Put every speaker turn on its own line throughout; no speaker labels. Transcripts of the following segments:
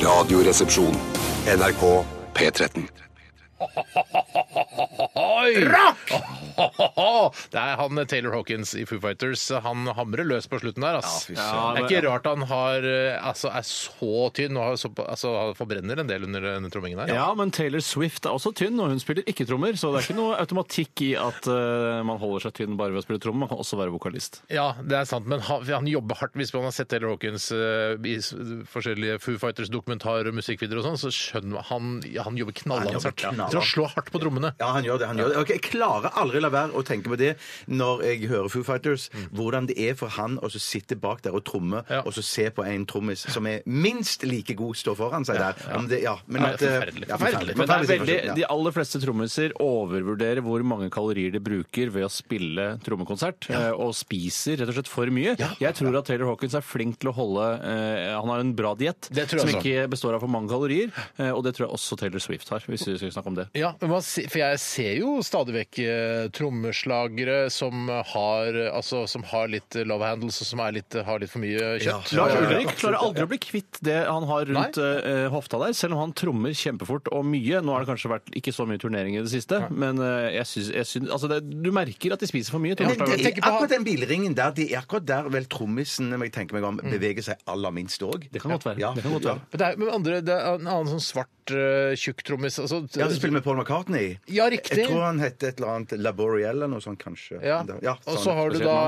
Radioresepsjon. NRK P13.
Det er han eh, Taylor Hawkins i Foo Fighters. Han hamrer løs på slutten der, ass.
fy søren.
det er ikke rart han har, eh, altså, er så tynn og har så, altså, han forbrenner en del under denne trommingen der.
Ja, men Taylor Swift er også tynn, og hun spiller ikke trommer, så det er ikke noe automatikk i at eh, man holder seg tynn bare ved å spille trommer. Man kan også være vokalist.
Ja, det er sant, men han, han jobber hardt. Hvis man har sett Taylor Hawkins eh, i s- forskjellige Foo Fighters-dokumentarer og musikkvideoer og sånn, så skjønner man han, ja, han jobber knallhardt.
Han jobber
Jeg
knallhardt.
tror han slår hardt på trommene.
Ja, han gjør det. han gjør det. Ok, Jeg klarer aldri la være å tenke på det når jeg hører Foo Fighters. Hvordan det er for han å så sitte bak der og tromme
Ja.
og så se på en trommis som er minst like god, står foran seg der. Om det, ja, men
Ja,
at, eh,
forferdelig.
ja,
Forferdelig.
Men det er veldig,
situasjon,
de
ja.
aller fleste trommiser overvurderer hvor mange kalorier de bruker ved å spille trommekonsert, eh, og spiser rett og slett for mye. Jeg tror at Taylor Hawkins er flink til å holde eh, Han har en bra diett
Det tror jeg
som
også.
ikke består av for mange kalorier, eh, og det tror jeg også Taylor Swift har, hvis vi skal snakke om det.
Ja, men man, se- for jeg ser jo stadig vekk eh, trommeslagere som har, eh, altså, som har litt eh, love handles og som er litt, har litt for mye kjøtt.
Lars
ja, ja,
Ulrik klarer aldri å bli kvitt det han har rundt
Nei.
eh, hofta der, selv om han trommer kjempefort og mye. Nå har det kanskje vært ikke så mye turnering i det siste, men eh, jeg syns, jeg syns altså det, Du merker at de spiser for mye.
Men
trommeslagere.
det
jeg
er
tenker på-
akkurat den bilringen der, det er akkurat der vel trommisen må jeg tenke meg om, beveger seg aller minst òg.
Det kan godt være.
Ja,
Det kan godt
ja.
være.
Men det er, men andre, det er en annen sånn svart eh, tjukk trommis. Altså,
Ja, du spiller med Paul McCartney?
Ja, riktig.
Jeg tror han het et eller annet Laboriel eller noe sånt, kanskje. sånn.
ja. og så har du
spesielt
da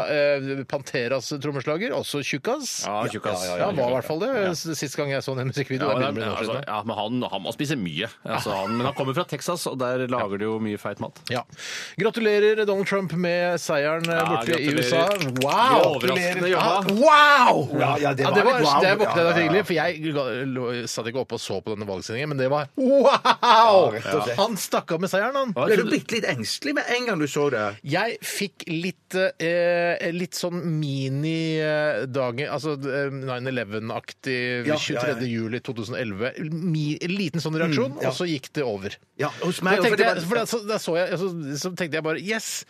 eh, Panteras trommeslager, også tjukkas.
Ja, tjukkas.
Ja, han var i hvert fall det sist gang jeg så en musikkvideo.
Ja,
det er
men,
mindre enn et år
altså,
siden.
ja, men han, han må spise mye. Altså, han, men han kommer fra Texas, og der lager de jo mye feit mat.
Ja. Gratulerer Donald Trump med seieren eh,
Ja,
borte i
gratulerer.
USA.
Det
Wow!
var overraskende
Ja,
jobba.
wow!
Ja, ja, det
Ja,
var
det var,
litt wow.
det våknet jeg
Ja,
da
ja, ja.
tidlig, for jeg ga- lå- satt ikke oppe og så på denne valgsendingen, men det var wow!
rett og slett.
Han stakk av med seieren, han.
Ble du
Altså,
bitte litt engstelig med en gang du så det?
Jeg fikk litt, eh, litt sånn mini-dagen Altså eh, 9-11-aktig
Ja,
23.
ja, ja.
juli 2011. Mi, en liten sånn reaksjon,
ja.
og så gikk det over.
Ja, hos
Da
meg også,
tenkte
det var-
jeg, for da, så, da så jeg, så, så tenkte jeg bare Yes!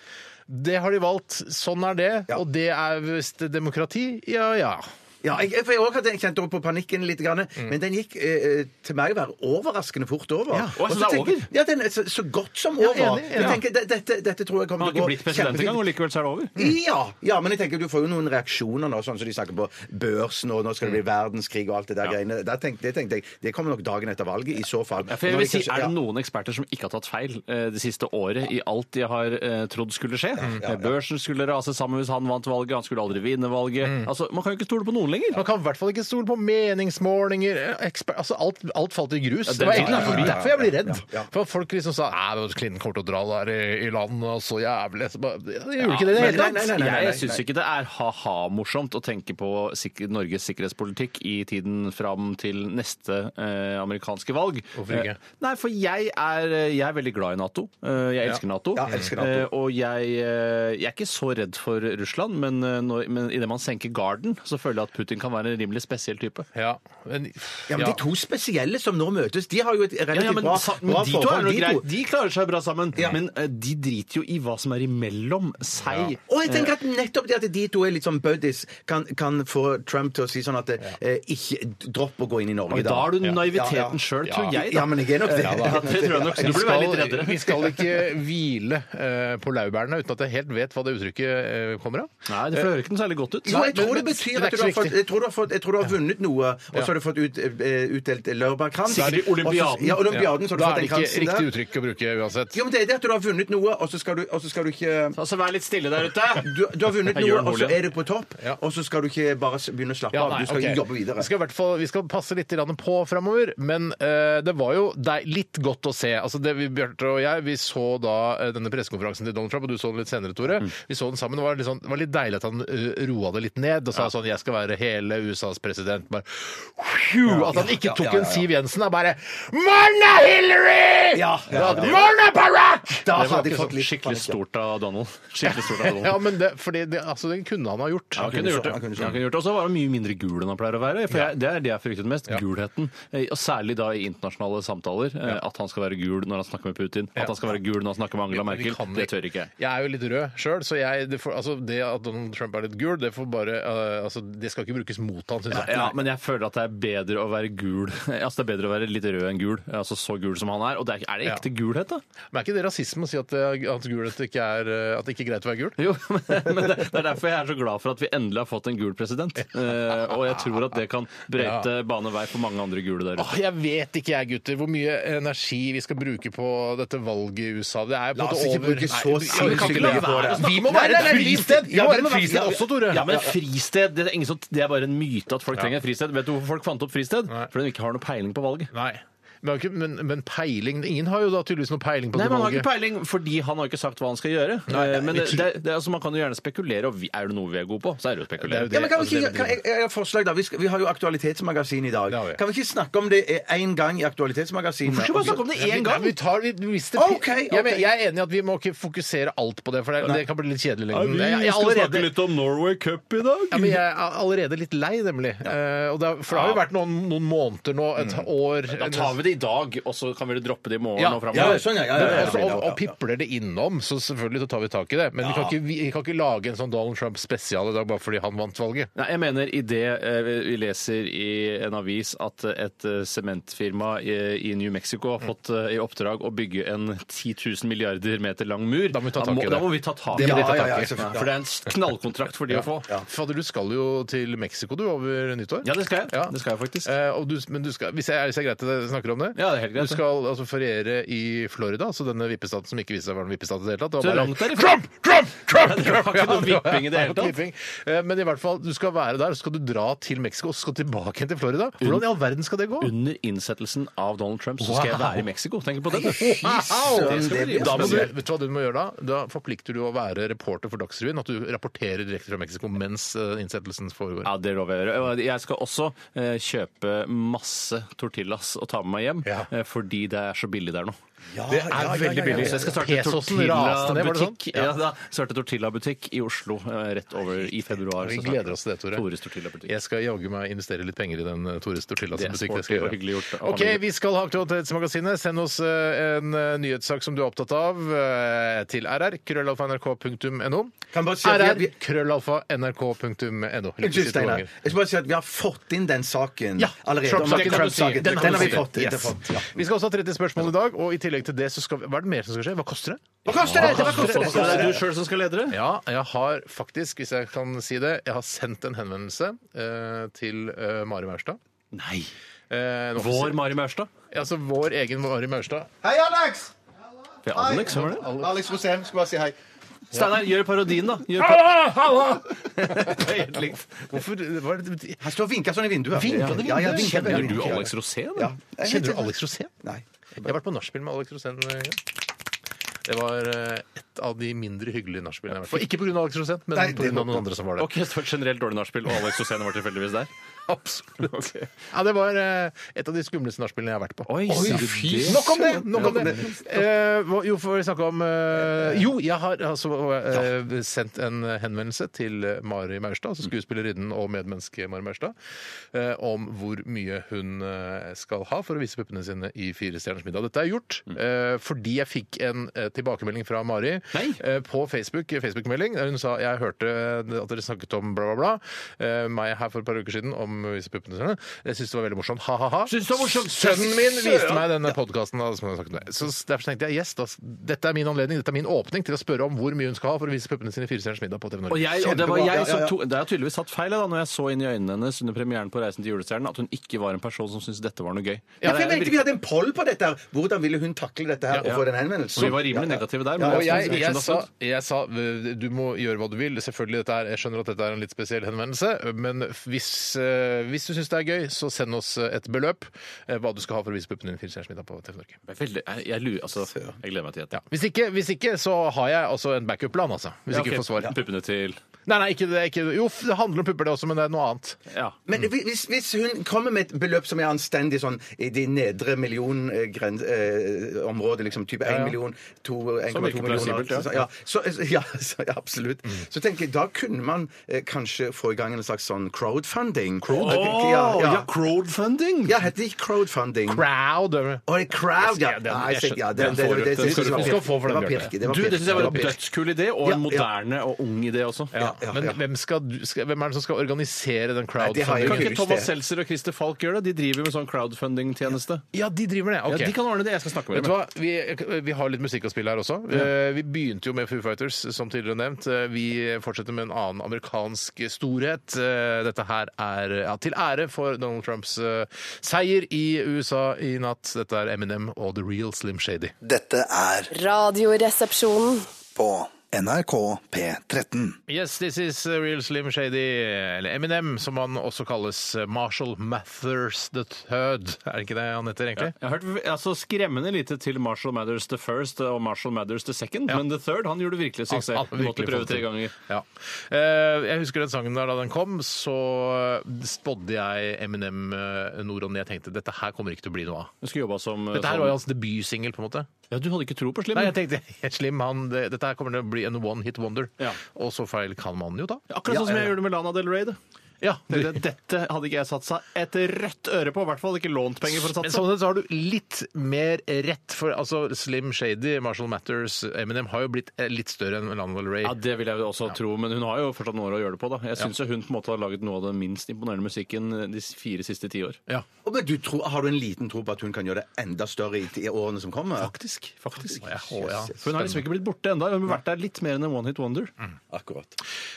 Det har de valgt. Sånn er det.
Ja.
Og det er visst demokrati. Ja ja.
Ja, jeg, for jeg også hadde kjent også på panikken litt, grann,
Mm.
men den gikk eh, til meg å være overraskende fort over.
Ja,
og jeg synes det
så
er
tenker-
over.
Ja, den er så, så godt som over.
enig, enig.
Jeg tenker, det- dette, dette tror jeg
Han
kommer
har
til å
ikke
gå
blitt president
kjempefint.
engang, og likevel så er det over.
Ja, ja, men jeg tenker du får jo noen reaksjoner nå, sånn som de snakker på børsen, og nå skal
Mm.
det bli verdenskrig og alt det der greiene. Der tenkte, det tenkte jeg, det kommer nok dagen etter valget, i så fall.
Ja, for jeg vil si,
Når de kanskje-
Er det
ja.
noen eksperter som ikke har tatt feil eh, det siste året i alt de har eh, trodd skulle skje? Eh, Børsen skulle rase sammen hvis han vant valget, han skulle aldri vinne valget.
Mm.
Altså, Man kan jo ikke stole på noen lenger.
Man kan i hvert fall ikke stole på meningsmålinger. Eksper, altså alt, alt falt i grus. det, var
ja,
egentlig
ja, ja,
derfor-
ja, ja.
derfor jeg ble redd.
Ja, ja.
For folk liksom sa Nei, Clinton kommer til å dra der i, i land og så jævlig så bare, Det gjorde ikke det i det
men
hele
nei, nei,
tatt.
nei.
Jeg syns ikke det er ha-ha-morsomt å tenke på sik Norges sikkerhetspolitikk i tiden fram til neste eh, amerikanske valg.
Hvorfor ikke?
Eh, nei, for jeg er, jeg er veldig glad i Nato. Eh, jeg elsker Nato.
Ja, jeg elsker NATO.
Eh, og jeg, eh, jeg er ikke så redd for Russland, men, eh, når, men idet man senker garden, så føler jeg at Putin kan være en rimelig spesiell type.
Ja, men,
Ja, men
ja.
De to spesielle som nå møtes, de har jo et relativt
men,
bra,
sa- men
bra
de to er
forhold.
noe
de
greit.
to.
De klarer seg bra sammen. Men eh, de driter jo i hva som er imellom seg.
Og jeg tenker at nettopp det at de to er litt sånn buddies, kan, kan få Trump til å si sånn at eh, ikke dropp å gå inn i Norge,
Og da har du
Ja, ja.
naiviteten sjøl, tror
Ja.
jeg.
Ja, men jeg er nok det.
Ja, da. Det tror jeg nok.
Vi
Så du burde være litt
skal,
reddere.
vi skal ikke hvile eh, på laurbærene uten at jeg helt vet hva det uttrykket eh, kommer av.
Nei, det hører ikke noe særlig godt ut.
Jo, jeg
Nei,
tror
men-
det
men
betyr
det er
at
ikke
du har
så
fått,
viktig.
jeg tror du har, fått, jeg tror du har vunnet noe, og så har du fått ut, eh, utdelt laurbærkrans.
Sikkert i olympiaden.
Og så- Ja, olympiaden, så har du
da
fått
er
den
det ikke
kransen
riktig
der.
uttrykk å bruke uansett.
Jo, men det er det at du har vunnet noe, og så skal du, og så skal du ikke
Altså, vær litt stille der ute.
du, du har vunnet
Jeg gjør
noe, og så
Nordlia.
er du på topp,
Ja.
og så skal du ikke bare s- begynne å slappe
Ja,
av.
nei,
Du skal
ok.
jobbe videre.
Vi skal, i hvert fall, vi skal passe litt grann på framover, men eh, det var jo deg litt godt å se. Altså det vi, Bjarte og jeg vi så da eh, denne pressekonferansen til Donald Trump, og du så den litt senere,
Mm.
Tore. Vi så den sammen. Det var litt, sånn, det var litt deilig at han eh, roa det litt ned og sa sånn 'Jeg skal være hele USAs president'. Bare, Phew! at han ikke
ja,
tok
ja, ja,
en Siv Jensen og bare 'Morna, Hillary!'
Ja, ja, ja.
Morna, Barack!
Da
det var
hadde jeg
ikke
fått
sånn
litt
skikkelig
panikk, ja.
stort av Donald. Skikkelig stort av Donald.
Ja, men det, fordi det, altså, det kunne han ha gjort.
Ja, han kunne gjort det.
han kunne
Ja, han kunne gjort det. Og så var han mye mindre gul enn han pleier å være. For jeg, det er det jeg fryktet mest. Gulheten. Eh, Og særlig da i internasjonale samtaler. eh, At han skal være gul når han snakker med Putin. At han skal være gul når han snakker med Angela
Men vi
Merkel.
kan
Det
ikke-
tør ikke jeg.
Jeg er jo litt rød sjøl, så jeg, det, får, altså, det at Donald Trump er litt gul, det, får bare, eh, altså, det skal ikke brukes mot han, syns jeg.
Ja, men jeg føler at det er bedre å være gul. Altså, det er bedre å være litt rød enn gul. Altså så gul som han er. Og det er, er det ekte gulhet, da?
Men er ikke det rasisme å si at, eh, at gulhet ikke er, eh, at det ikke er greit å være gul?
Jo, men, men det, det er derfor jeg er så glad for at vi endelig har fått en gul president. Eh, og jeg tror at det kan brøyte bane vei for mange andre gule der
Åh,
ute.
jeg vet ikke jeg, gutter, hvor mye energi vi skal bruke på dette valget i USA. Det er på en
La oss
måte
ikke
over...
bruke
Nei,
så
vi- ja, men kan
sinnssykt
ikke la
mye på
være
det.
å snakke- Vi må være et fristed! Vi
Ja,
må
det
være
må
et
være
fristed også, Tore.
Ja, men et fristed det er, ingen som, det er bare en myte at folk trenger et fristed. Vet du hvorfor folk fant opp fristed?
Nei.
Fordi de ikke har noe peiling på valget.
Nei. Men, ok, men, men peiling Ingen har jo da tydeligvis noe peiling på
Nei,
det
man har ikke
valget.
peiling, fordi han har ikke sagt hva han skal gjøre.
Nei,
Eh, Men det,
jeg tror-
det, det, altså, man kan jo gjerne spekulere, og vi- er det noe vi er gode på, så er det jo å spekulere.
Det er
Ja,
jo
men kan vi
altså,
ikke,
det
kan, jeg, jeg har et forslag da. Vi, skal, vi har jo Aktualitetsmagasin i
Det har vi.
dag. Kan vi ikke snakke om det én gang i Aktualitetsmagasinet?
Hvorfor skal man snakke om det
Ja,
én
vi-
gang?
Vi tar, vi, hvis det,
Ok, ok.
Jeg, men, jeg er enig i at vi må ikke fokusere alt på det, for det, det kan bli litt kjedelig. i lengden. Jeg- jeg er allerede-
om Norway Cup i dag.
Ja, men jeg er allerede litt lei, nemlig. Eh, og det, har- for det har jo
Ja.
vært noen, noen måneder nå, et
Mm.
år
Da tar vi det i dag, og så kan vi droppe det i morgen
Ja.
og
Ja,
framover.
sånn, ja, ja, ja,
Men
ja,
også,
ja, ja,
og,
ja.
og pipler det innom, så selvfølgelig så tar vi tak i det. Men vi, kan ikke, vi, vi kan ikke lage en sånn Donald Trump-spesial i dag bare fordi han vant valget.
Nei, jeg mener i det eh, vi leser i en avis at et eh, sementfirma i, i New Mexico har fått
Mm.
eh, i oppdrag å bygge en 10 000 milliarder meter lang mur.
Da må vi ta tak i det.
Da må vi ta tak i
Det må
det.
vi ta
tak i.
Ja, ja, ja,
selvfølgelig.
For det er en knallkontrakt for de å få.
Fader, du skal jo til Mexico du over nyttår.
Ja, det skal jeg.
Ja.
Det skal jeg faktisk.
Eh, og du, men du skal, hvis, jeg, hvis jeg er greit at jeg snakker om det?
Ja, det er helt
Du
greit, det.
skal altså feriere i Florida, altså denne vippestaten som ikke viste seg å være en vippestat i det hele tatt. Det var
Så
bare-
langt derifra.
Trump! Trump! Trump!
det var ikke
Ja,
noe vipping i det
var
hele
ikke
tatt.
vipping. Eh, Men i hvert fall, du skal være der, så skal du dra til Mexico og så skal du tilbake igjen til Florida. Hvordan i all verden skal det gå?
Under innsettelsen av Donald Trump så skal jeg
Wow.
være i Mexico. Tenk på det. du.
søren,
Det skal
det
bli
blir
Da må du,
spennende.
vet du hva du må gjøre da? Da forplikter du å være reporter for Dagsrevyen. At du rapporterer direkte fra Mexico mens eh, innsettelsen foregår.
Ja, det lover jeg å gjøre. Og Jeg skal også eh, kjøpe masse tortillas og ta med meg hjem,
Ja.
eh, fordi det er så billig der nå.
Det er veldig billig.
Så jeg skal starte
Pesosen raste ned, var det sånn?
tortillabutikk ja, da, starte tortillabutikk i Oslo eh, rett over i februar.
Vi
så starter
gleder oss til det, Tore.
Tores tortillabutikk.
Jeg skal jaggu meg investere litt penger i den eh, Tores Tortillas
Det er
butikk. Det
sporty
skal
og
jeg
hyggelig
gjøre.
gjort av
Ok,
familien.
vi skal ha Aktualitetsmagasinet. Send oss eh, en eh, nyhetssak som du er opptatt av, eh, til rr. Krøllalfa.nrk.no.
Kan bare si at
rr.
vi- vi-
Krøllalfa.nrk.no.
Unnskyld, Steinar. Jeg skal bare si at vi har fått inn den saken
Ja,
allerede.
Trump-saken.
Om Trump-saken.
Den
Den,
kan
har
du
vi
si.
fått.
Yes.
Yes. fått ja.
Vi skal også ha 30 spørsmål i dag, og i tillegg til det så skal vi Hva er det mer som skal skje? Hva koster det?
Hva koster det? Hva koster
Så det
det?
er du sjøl som skal lede det?
Ja, jeg har faktisk, hvis jeg kan si det, jeg har sendt en henvendelse eh, til eh, Mari Maurstad.
Nei.
Eh, en
Vår
offisiell-
Mari Maurstad.
Altså vår egen Mari Maurstad.
Hei, Alex!
For jeg aner ikke, så var det.
Alex Rosén, skal bare si hei.
Steinar, gjør parodien, da. Gjør par det er helt likt.
Hvorfor hva er det,
Han står og vinker sånn i vinduet.
Vinker han i
Ja, ja,
vinduet?
vinker
Gjør
veldig
du
vinker.
Alex Rosén?
Ja.
da?
Kjenner du Alex Rosén?
Nei.
Jeg har vært på nachspiel med Alex Rosén. eh, en gang. Det var eh, et av de mindre hyggelige nachspielene jeg har vært på. Ikke pga. Alex Rosén, men
Nei, det
pga.
må-
noen andre som var der.
Ok, så det var et generelt dårlig nachspiel, og Alex Rosén var tilfeldigvis der?
Absolutt. Ja, det var eh, et av de skumleste nachspielene jeg har vært på.
Oi, sier du det?
Nok om det! Nok om det. Eh, hva- jo, får vi snakke om eh, Jo, jeg har altså eh, sendt en henvendelse til Mari Maurstad, altså skuespillerinnen og medmenneske Mari Maurstad, eh, om hvor mye hun eh, skal ha for å vise puppene sine i Fire stjerners middag. Dette er gjort eh, fordi jeg fikk en eh, tilbakemelding fra Mari
Nei.
eh, på Facebook. Facebook-melding. der Hun sa jeg hørte at dere snakket om bla, bla, bla. eh, meg her for et par uker siden om å vise puppene sine. Jeg syntes det var veldig morsomt. Ha-ha-ha.
Synes det var morsomt.
Sønnen min viste meg denne podkasten. Så derfor tenkte jeg yes, da, dette er min anledning, dette er min åpning til å spørre om hvor mye hun skal ha for å vise puppene sine i Firestjerners middag på TV
Og
Norge.
jeg, og det var
Kjempebra.
jeg som
Ja, ja, ja.
to, det er tydeligvis satt feil jeg, da, når jeg så inn i øynene hennes under premieren på Reisen til julestjernen at hun ikke var en person som syntes dette var noe gøy.
Ja, for jeg
Det er-
mente vi hadde en poll på dette. her. Hvordan ville hun takle dette her og få den henvendelsen?
Vi var rimelig negative der. Men
Og
det er
jeg,
sånn
jeg,
som
sa,
skjer.
jeg sa du må gjøre hva du vil. Selvfølgelig, dette er, Jeg skjønner at dette er en litt spesiell henvendelse, men hvis, eh, hvis du syns det er gøy, så send oss et beløp. eh, Hva du skal ha for å vise puppene dine i Firestjerners middag på TV Norge.
Veldig- jeg, jeg, lurer- altså, jeg gleder meg til dette.
Hvis ikke, hvis ikke så har jeg altså en backup-plan, altså. Hvis
Ja,
ikke
ok.
jeg får svar.
Puppene til
Nei, nei, ikke det. Ikke, det. jo, f- det handler om pupper, det også, men det er noe annet.
Ja.
Men hvis, hvis hun kommer med et beløp som er anstendig sånn i de nedre millionområdet, eh, området, liksom type 1 million, to- 1,2
virker
millioner
plausibelt, ja.
så- ja. Mm. Så, ja, så, ja, absolutt. Så tenker jeg, da kunne man eh, kanskje få i gang en slags sånn crowdfunding.
Åh,
Ja, ja.
crowdfunding!
ja, heter det ikke crowdfunding?
Crowd. eller-
Å, det er crowd, ja.
Jeg ser den, jeg
Nei, jeg ser- ja,
skjønner.
det-
Den
det-
får du.
det- det-
Den skal du
det-
få. Du skal få for den,
Det var
Bjørn.
pirke, det var
Du,
pirke,
Det syns jeg var en
pirke.
dødskul idé, og
Ja,
en
ja.
moderne og ung idé også.
Ja,
ja,
men
ja.
Hvem, skal du, skal, hvem er det som skal organisere den
Nei, det har
crowdfundingen?
jeg
Kan ikke
Just
Thomas
det.
Seltzer og Christer Falk gjøre det? De driver med sånn crowdfunding-tjeneste.
Ja, de driver det. ok.
Ja, De kan ordne det. Jeg skal snakke med
Vet du
dem.
hva? Vi, vi har litt musikk å spille her også. Eh, Vi begynte jo med Foo Fighters, som tidligere nevnt. Eh, Vi fortsetter med en annen amerikansk storhet. Eh, Dette her er ja, til ære for Donald Trumps eh, seier i USA i natt. Dette er Eminem og The Real Slim Shady.
Dette er
Radioresepsjonen.
på NRK P13.
Yes, this is uh, Real Slim Shady, eller Eminem, som han også kalles. eh, Marshall Mathers the Third. Er det ikke det han heter, egentlig?
Jeg har hørt altså, skremmende lite til Marshall Mathers the First og Marshall Mathers the Second, men the Third han gjorde virkelig suksess.
Han- han
Du måtte
virkelig
prøve
fått til.
tre ganger.
Ja. Eh, Jeg husker den sangen der da den kom, så spådde jeg Eminem eh, nord og ned. Jeg tenkte dette her kommer ikke til å bli noe av.
Du skulle jobba som
Dette her var jo hans debutsingel, på en måte.
Ja, Du hadde ikke tro på Slim?
Nei, jeg tenkte Slim, han, det, dette her kommer til å bli en one hit wonder.
Ja.
Og så feil kan man jo ta.
Akkurat sånn som jeg gjorde med Lana Del Rey. det.
Ja, du,
Tenkte, Dette hadde ikke jeg satsa et rødt øre på, i hvert fall ikke lånt penger for å
Men
satse.
sånn sett så har du litt mer rett, for altså, Slim Shady, Marshall Matters, Eminem har jo blitt eh, litt større enn Lana Del Rey.
Ja, Det vil jeg jo også tro, men hun har jo fortsatt noen år å gjøre det på. da. Jeg syns jo hun på en måte har laget noe av den minst imponerende musikken eh, de fire siste ti år.
Ja.
Å, Men du tror, har du en liten tro på at hun kan gjøre det enda større i, i årene som kommer?
Faktisk. faktisk.
Ja, å, ja.
For hun har liksom ikke blitt borte ennå. Hun har vært der litt mer enn en one hit wonder.
Akkurat.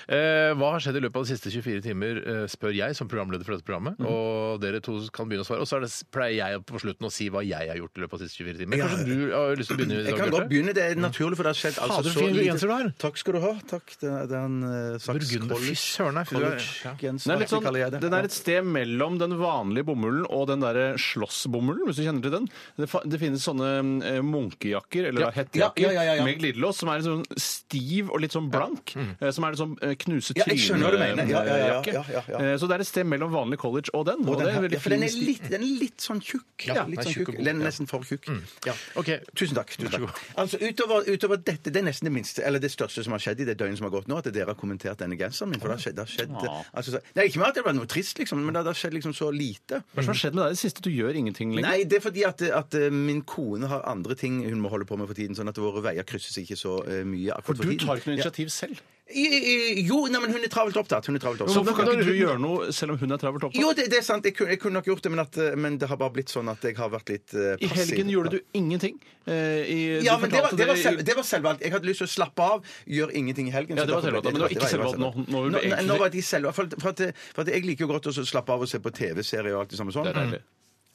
Eh, hva har skjedd i løpet av de siste 24 timer, eh, spør jeg som programleder for dette programmet.
Mm.
Og dere to kan begynne å svare. Og så er det, pleier jeg på slutten å si hva jeg har gjort i løpet av de siste 24 timer. Kanskje du har lyst til å begynne? i
Jeg
dag,
kan godt
Bjarte?
begynne. Det er naturlig, for det har skjedd altså
Fader,
så
fin
lite-
genser du har.
Takk skal du ha. Takk. Det er det er en eh, slags
Burgunder. Fy søren, nei, fy, du er- ja.
College-genser,
Den er, litt sånn,
kaller jeg det.
den er et sted mellom den vanlige bomullen og den derre slåssbomullen, hvis du kjenner til den. Det, fa- det finnes sånne eh, munkejakker, eller hettejakker,
ja, ja, ja, ja.
med glidelås, som er en sånn stiv og litt sånn blank. eh, Som er en sånn eh, knuse
Ja, jeg skjønner hva du mener. Ja, ja, ja, ja, ja, ja.
tryne-jakke. Eh, Så det er et sted mellom vanlig college og den. Og,
Og
det
den
er en
her- ja,
veldig
for den
fin
er litt, den er litt sånn tjukk.
Ja, den
litt
er
sånn
tjukk
tjukk.
og god,
Den er nesten for tjukk.
Mm.
Ja.
Ok.
Tusen takk. Tusen takk. Altså, utover, utover dette, det er nesten det minste, eller det største som har skjedd i det døgnet som har gått nå, at dere har kommentert denne genseren min. For det har skjedd, det har skjedd altså, så- Nei, ikke mer at det var noe trist, liksom, men det har- det har skjedd liksom så lite.
Hva er det som har skjedd med deg i det siste? Du gjør ingenting lenger.
Nei, det er fordi at, at eh, min kone har andre ting hun må holde på med for tiden, sånn at våre veier krysses ikke så eh, mye akkurat for,
Du
tiden.
tar ikke noe
Ja.
initiativ selv.
I, i, jo, nei, men hun er travelt opptatt. Hun er travelt
Så
opptatt.
hvorfor kan ikke du gjøre noe selv om hun er travelt opptatt?
Jo, det, det er sant. Jeg kunne, jeg kunne nok gjort det, men, at, eh, men det har bare blitt sånn at jeg har vært litt eh,
I
passiv.
helgen gjorde du ingenting. Eh, I,
ja,
du
men det var,
fortalte
det, var
i-
selv, det var selvvalgt. Jeg hadde lyst til å slappe av, gjøre ingenting i helgen.
Ja,
så
det var
derfor-
selvvalgt, men det var ikke
jeg
selvvalgt nå. Nå vil du
Nå, nei,
egentlig-
nå var de selvvalgt. For, at- for, at, for at jeg liker jo godt å slappe av og se på TV-serier og alt det samme sånn.
Det er deilig.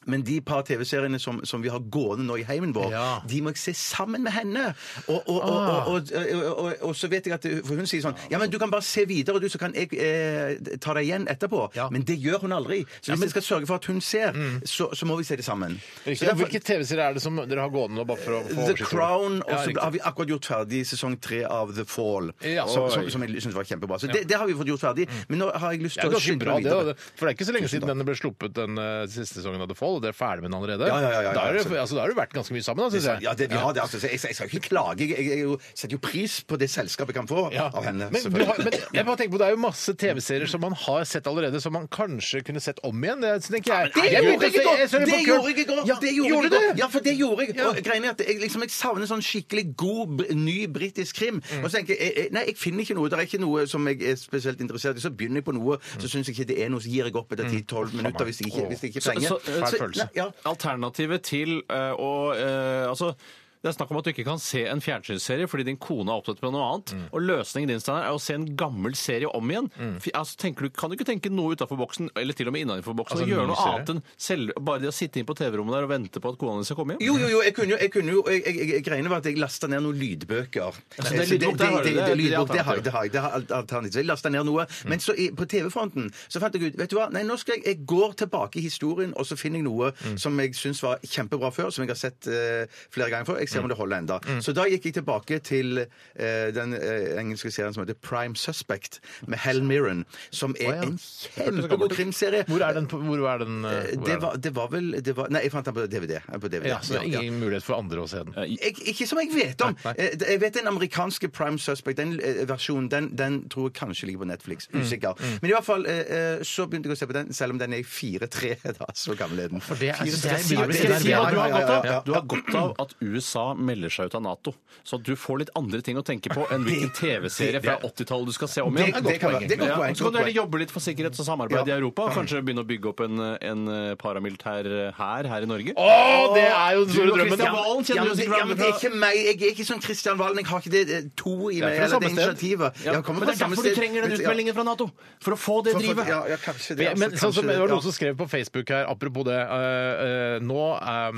Men de par TV-seriene som, som vi har gående nå i heimen vår,
Ja. Ah.
de må jeg se sammen med henne. Og, og, og, og, og, og, og så vet jeg at For hun sier sånn Ja, men du kan bare se videre, og du, så kan jeg eh, ta deg igjen etterpå.
Ja. Mm.
Men det gjør hun aldri. Så hvis jeg skal sørge for at hun ser, så, så må vi se det sammen. Så
Riktig.
derfor-
Hvilke TV-serier er det som dere har gående nå? Bare for å få
The
oversikt over?
Crown, og
Ja,
så
riktig.
har vi akkurat gjort ferdig sesong tre av The Fall.
Ja,
som,
oi. Mm.
som, som jeg syns var kjempebra. Så det, det har vi fått gjort ferdig. Men nå har jeg lyst
Det er
til å
ganske
skynde
bra,
meg
det. da.
videre.
For det er ikke så lenge siden den ble sluppet, den eh, siste sesongen av The Fall. og Dere er ferdig med den allerede.
Ja, ja, ja, ja,
da har
absolutt.
dere altså, da har dere vært ganske mye sammen, da, syns jeg.
Ja, det, vi har det. Altså, jeg, jeg skal jo ikke klage. Jeg, jeg, er jo- setter jo pris på det selskapet jeg kan få
Ja.
av henne.
men, du
selvfølgelig.
har, men jeg bare tenker på, Det er jo masse TV-serier som man har sett allerede, som man kanskje kunne sett om igjen. Det tenker jeg.
Det
Jeg
gjorde
begynte å se-
jeg ikke da!
jeg så det
Det
på
gjorde
Kurt.
jeg ikke da!
Ja,
Det gjorde
gjorde
jeg da!
du?
Ja, for det gjorde jeg. Og greien er at jeg, liksom, jeg savner sånn skikkelig god, br- ny britisk krim. Og så tenker jeg, jeg jeg- nei, jeg finner ikke noe. Det er ikke noe som jeg er spesielt interessert i. Så begynner jeg på noe, så syns jeg ikke det er noe, så gir jeg opp etter 10-12 minutter hvis jeg ikke, hvis jeg ikke
Så-
fenger.
så-
Fæl følelse.
nei, ja.
Alternativet til eh, å eh, Altså det er snakk om at du ikke kan se en fjernsynsserie fordi din kone er opptatt med noe annet.
Mm.
Og løsningen din Steiner, er å se en gammel serie om igjen. Fy- Altså, tenker du, kan du ikke tenke noe utafor boksen, eller til og med innenfor boksen,
Altså,
og
en
gjøre
ny
noe
serie?
annet enn selv, bare det å sitte inn på TV-rommet der og vente på at kona di skal komme hjem?
Jo, jo, jo, jeg kunne jo, jeg kunne jo jeg, jeg, jeg, Greiene var at jeg lasta ned noen lydbøker. Eh,
det er
Så
lydbok, der har du det.
det,
Det
det,
er
lydbok, det har
alternativ.
jeg. Det har jeg, det har alt- alternativ. Så jeg lasta ned noe. Men så i, på TV-fronten så fant jeg ut Vet du hva, nei, nå skal jeg, jeg går tilbake i historien, og så finner jeg noe som jeg syns var kjempebra før, som jeg har sett eh, flere ganger før. Jeg jeg ser om det holder enda. Så da gikk jeg tilbake til eh, den eh, engelske serien som heter Prime Suspect, med Hal Mirren, som er en kjempegod krimserie.
Hvor er den? på- Hvor er den eh, hvor
Det
er den?
var, det var vel det var, Nei, jeg fant den på DVD. På DVD.
Ja, så det er
Ja.
ingen mulighet for andre å se den.
Jeg, ikke som jeg vet om.
Nei,
Eh, Jeg vet den amerikanske Prime Suspect, den eh, versjonen, den, den tror jeg kanskje ligger på Netflix.
Mm,
Usikker. Men i hvert fall eh, eh, så begynte jeg å se på den, selv om den er i 4-3 da. Så gammel er den.
For det er-
Fire-
det er-
Skal jeg si-
det er-
skal jeg si hva
du har
ja,
godt av?
Ja, ja,
Du har godt av at USA melder seg ut av Nato. Så at du får litt andre ting å tenke på enn hvilken TV-serie fra 80-tallet du skal se om
Det-
igjen.
det kan være- det er godt
Ja,
poeng,
og Så kan
godt
du heller
poeng.
jobbe litt for sikkerhets- og samarbeid i
Ja.
Europa. og Kanskje begynne å bygge opp en, en eh, paramilitær hær her i Norge.
Å, det er jo den
Du
store
og
drømmen!
Christian Valen
Ja,
kjenner
men
jo
det,
sikkert
ja, men det
hverandre
er ikke
fra
meg. Jeg er ikke som Kristian Valen. Jeg har ikke det, det to i meg.
fra
Eller det
samme sted.
initiativet.
ja,
Jeg kommer
men
fra
Det er
samme
derfor du
sted.
trenger den
Ja.
utmeldingen fra Nato! For å få det
For- for-
drivet!
Ja, ja, kanskje det.
Men, men sånn
altså,
som,
kanskje
det var noen
ja.
som skrev på Facebook her, apropos det eh, eh, nå, eh,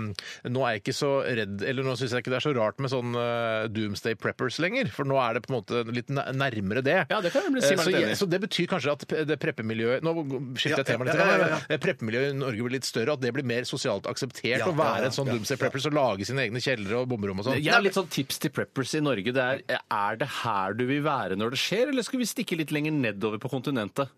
nå er jeg ikke så redd Eller nå syns jeg ikke det er så rart med sånn eh, Doomsday Preppers lenger, for nå er det på en måte litt næ- nærmere det.
Ja, det kan jeg bli- si
Eh, så,
meg litt
jeg-
enig i.
så det betyr kanskje at p- det preppemiljøet Nå skifter jeg
Ja,
tema litt.
ja, ja, ja, ja.
men, eh, Preppemiljøet i Norge blir litt større, at det blir mer sosialt akseptert
Ja,
å
ja, ja,
være en sånn
ja,
Doomsday Preppers og lage sine egne kjellere og bomberom og sånn.
Jeg har litt sånn tips til preppers i Norge. Det er, er det her du vil være når det skjer, eller skal vi stikke litt lenger nedover på kontinentet?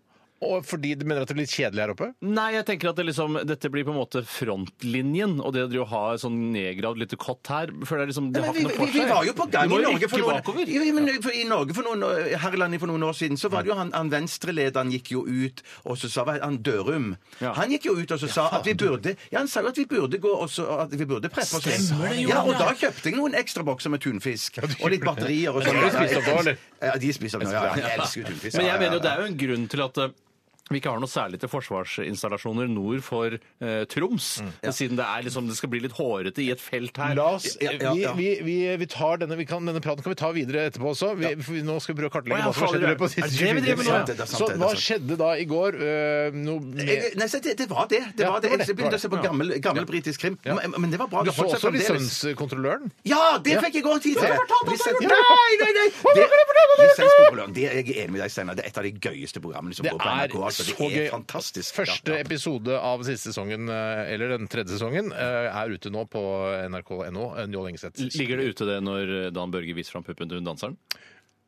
Og fordi du mener at det blir litt kjedelig her oppe?
Nei, jeg tenker at det liksom, dette blir på en måte frontlinjen, og det å drive og ha et sånn nedgravd lite kott her føler jeg liksom, det
Men
har
vi,
ikke noe
vi,
for seg.
vi var jo på gang
Du
i
må jo
Norge for
ikke
noen,
bakover.
Ja, men for, i Norge for noen, her i landet for noen år siden, så var det jo han, han venstrelederen gikk jo ut og så sa hva het han Dørum.
Ja.
Han gikk jo ut og så sa at vi burde Ja, han sa jo at vi burde gå og så at vi burde preppe oss inn.
Stemmer det, Johan,
Ja, og
ja.
da kjøpte jeg noen ekstra bokser med tunfisk og litt batterier og sånn.
de spist opp da, eller?
Ja, de spiser opp nå, ja. Jeg elsker jo tunfisk.
Men jeg
Ja,
mener
ja,
jo det er jo en grunn til at eh, vi ikke har noe særlig til forsvarsinstallasjoner nord for eh, Troms.
Mm.
Siden det, er liksom, det skal bli litt hårete i et felt her.
La oss,
Ja, ja, ja.
Vi, vi, vi, vi tar denne, vi kan, denne praten kan vi ta videre etterpå også. Vi, for nå skal vi prøve å
Å,
kartlegge
ja,
hva som har skjedd i løpet av
fader, er det
de
det vi
24
driver med nå?
timene. Så
Ja, det er sant, det er
hva
sant.
skjedde da i går? Eh, noe
Jeg,
med
nei, så det, det var det. det,
Ja,
var det.
det var det.
Jeg begynte å se på
Ja.
gammel, gammel britisk krim. Men, men det var bra.
Du
det
så
holdt
også
seg
sånn
fremdeles.
lisenskontrolløren?
Ja, det fikk jeg òg tid til! Lisens-
det?
Nei, nei, nei!
Hvorfor har du fortalt meg det?
Lisenskontrolløren. Det er jeg enig med deg, Steinar. Det er et av de gøyeste programmene som
Det
går på
er
NRK. Altså,
så
det
gøy.
er fantastisk.
Første
Ja, ja.
episode av siste sesongen, eh, eller den tredje sesongen, eh, er ute nå på nrk.no. eh, Njål Engeseth.
Ligger det ute det når eh, Dan Børge viser fram puppen til hun danseren?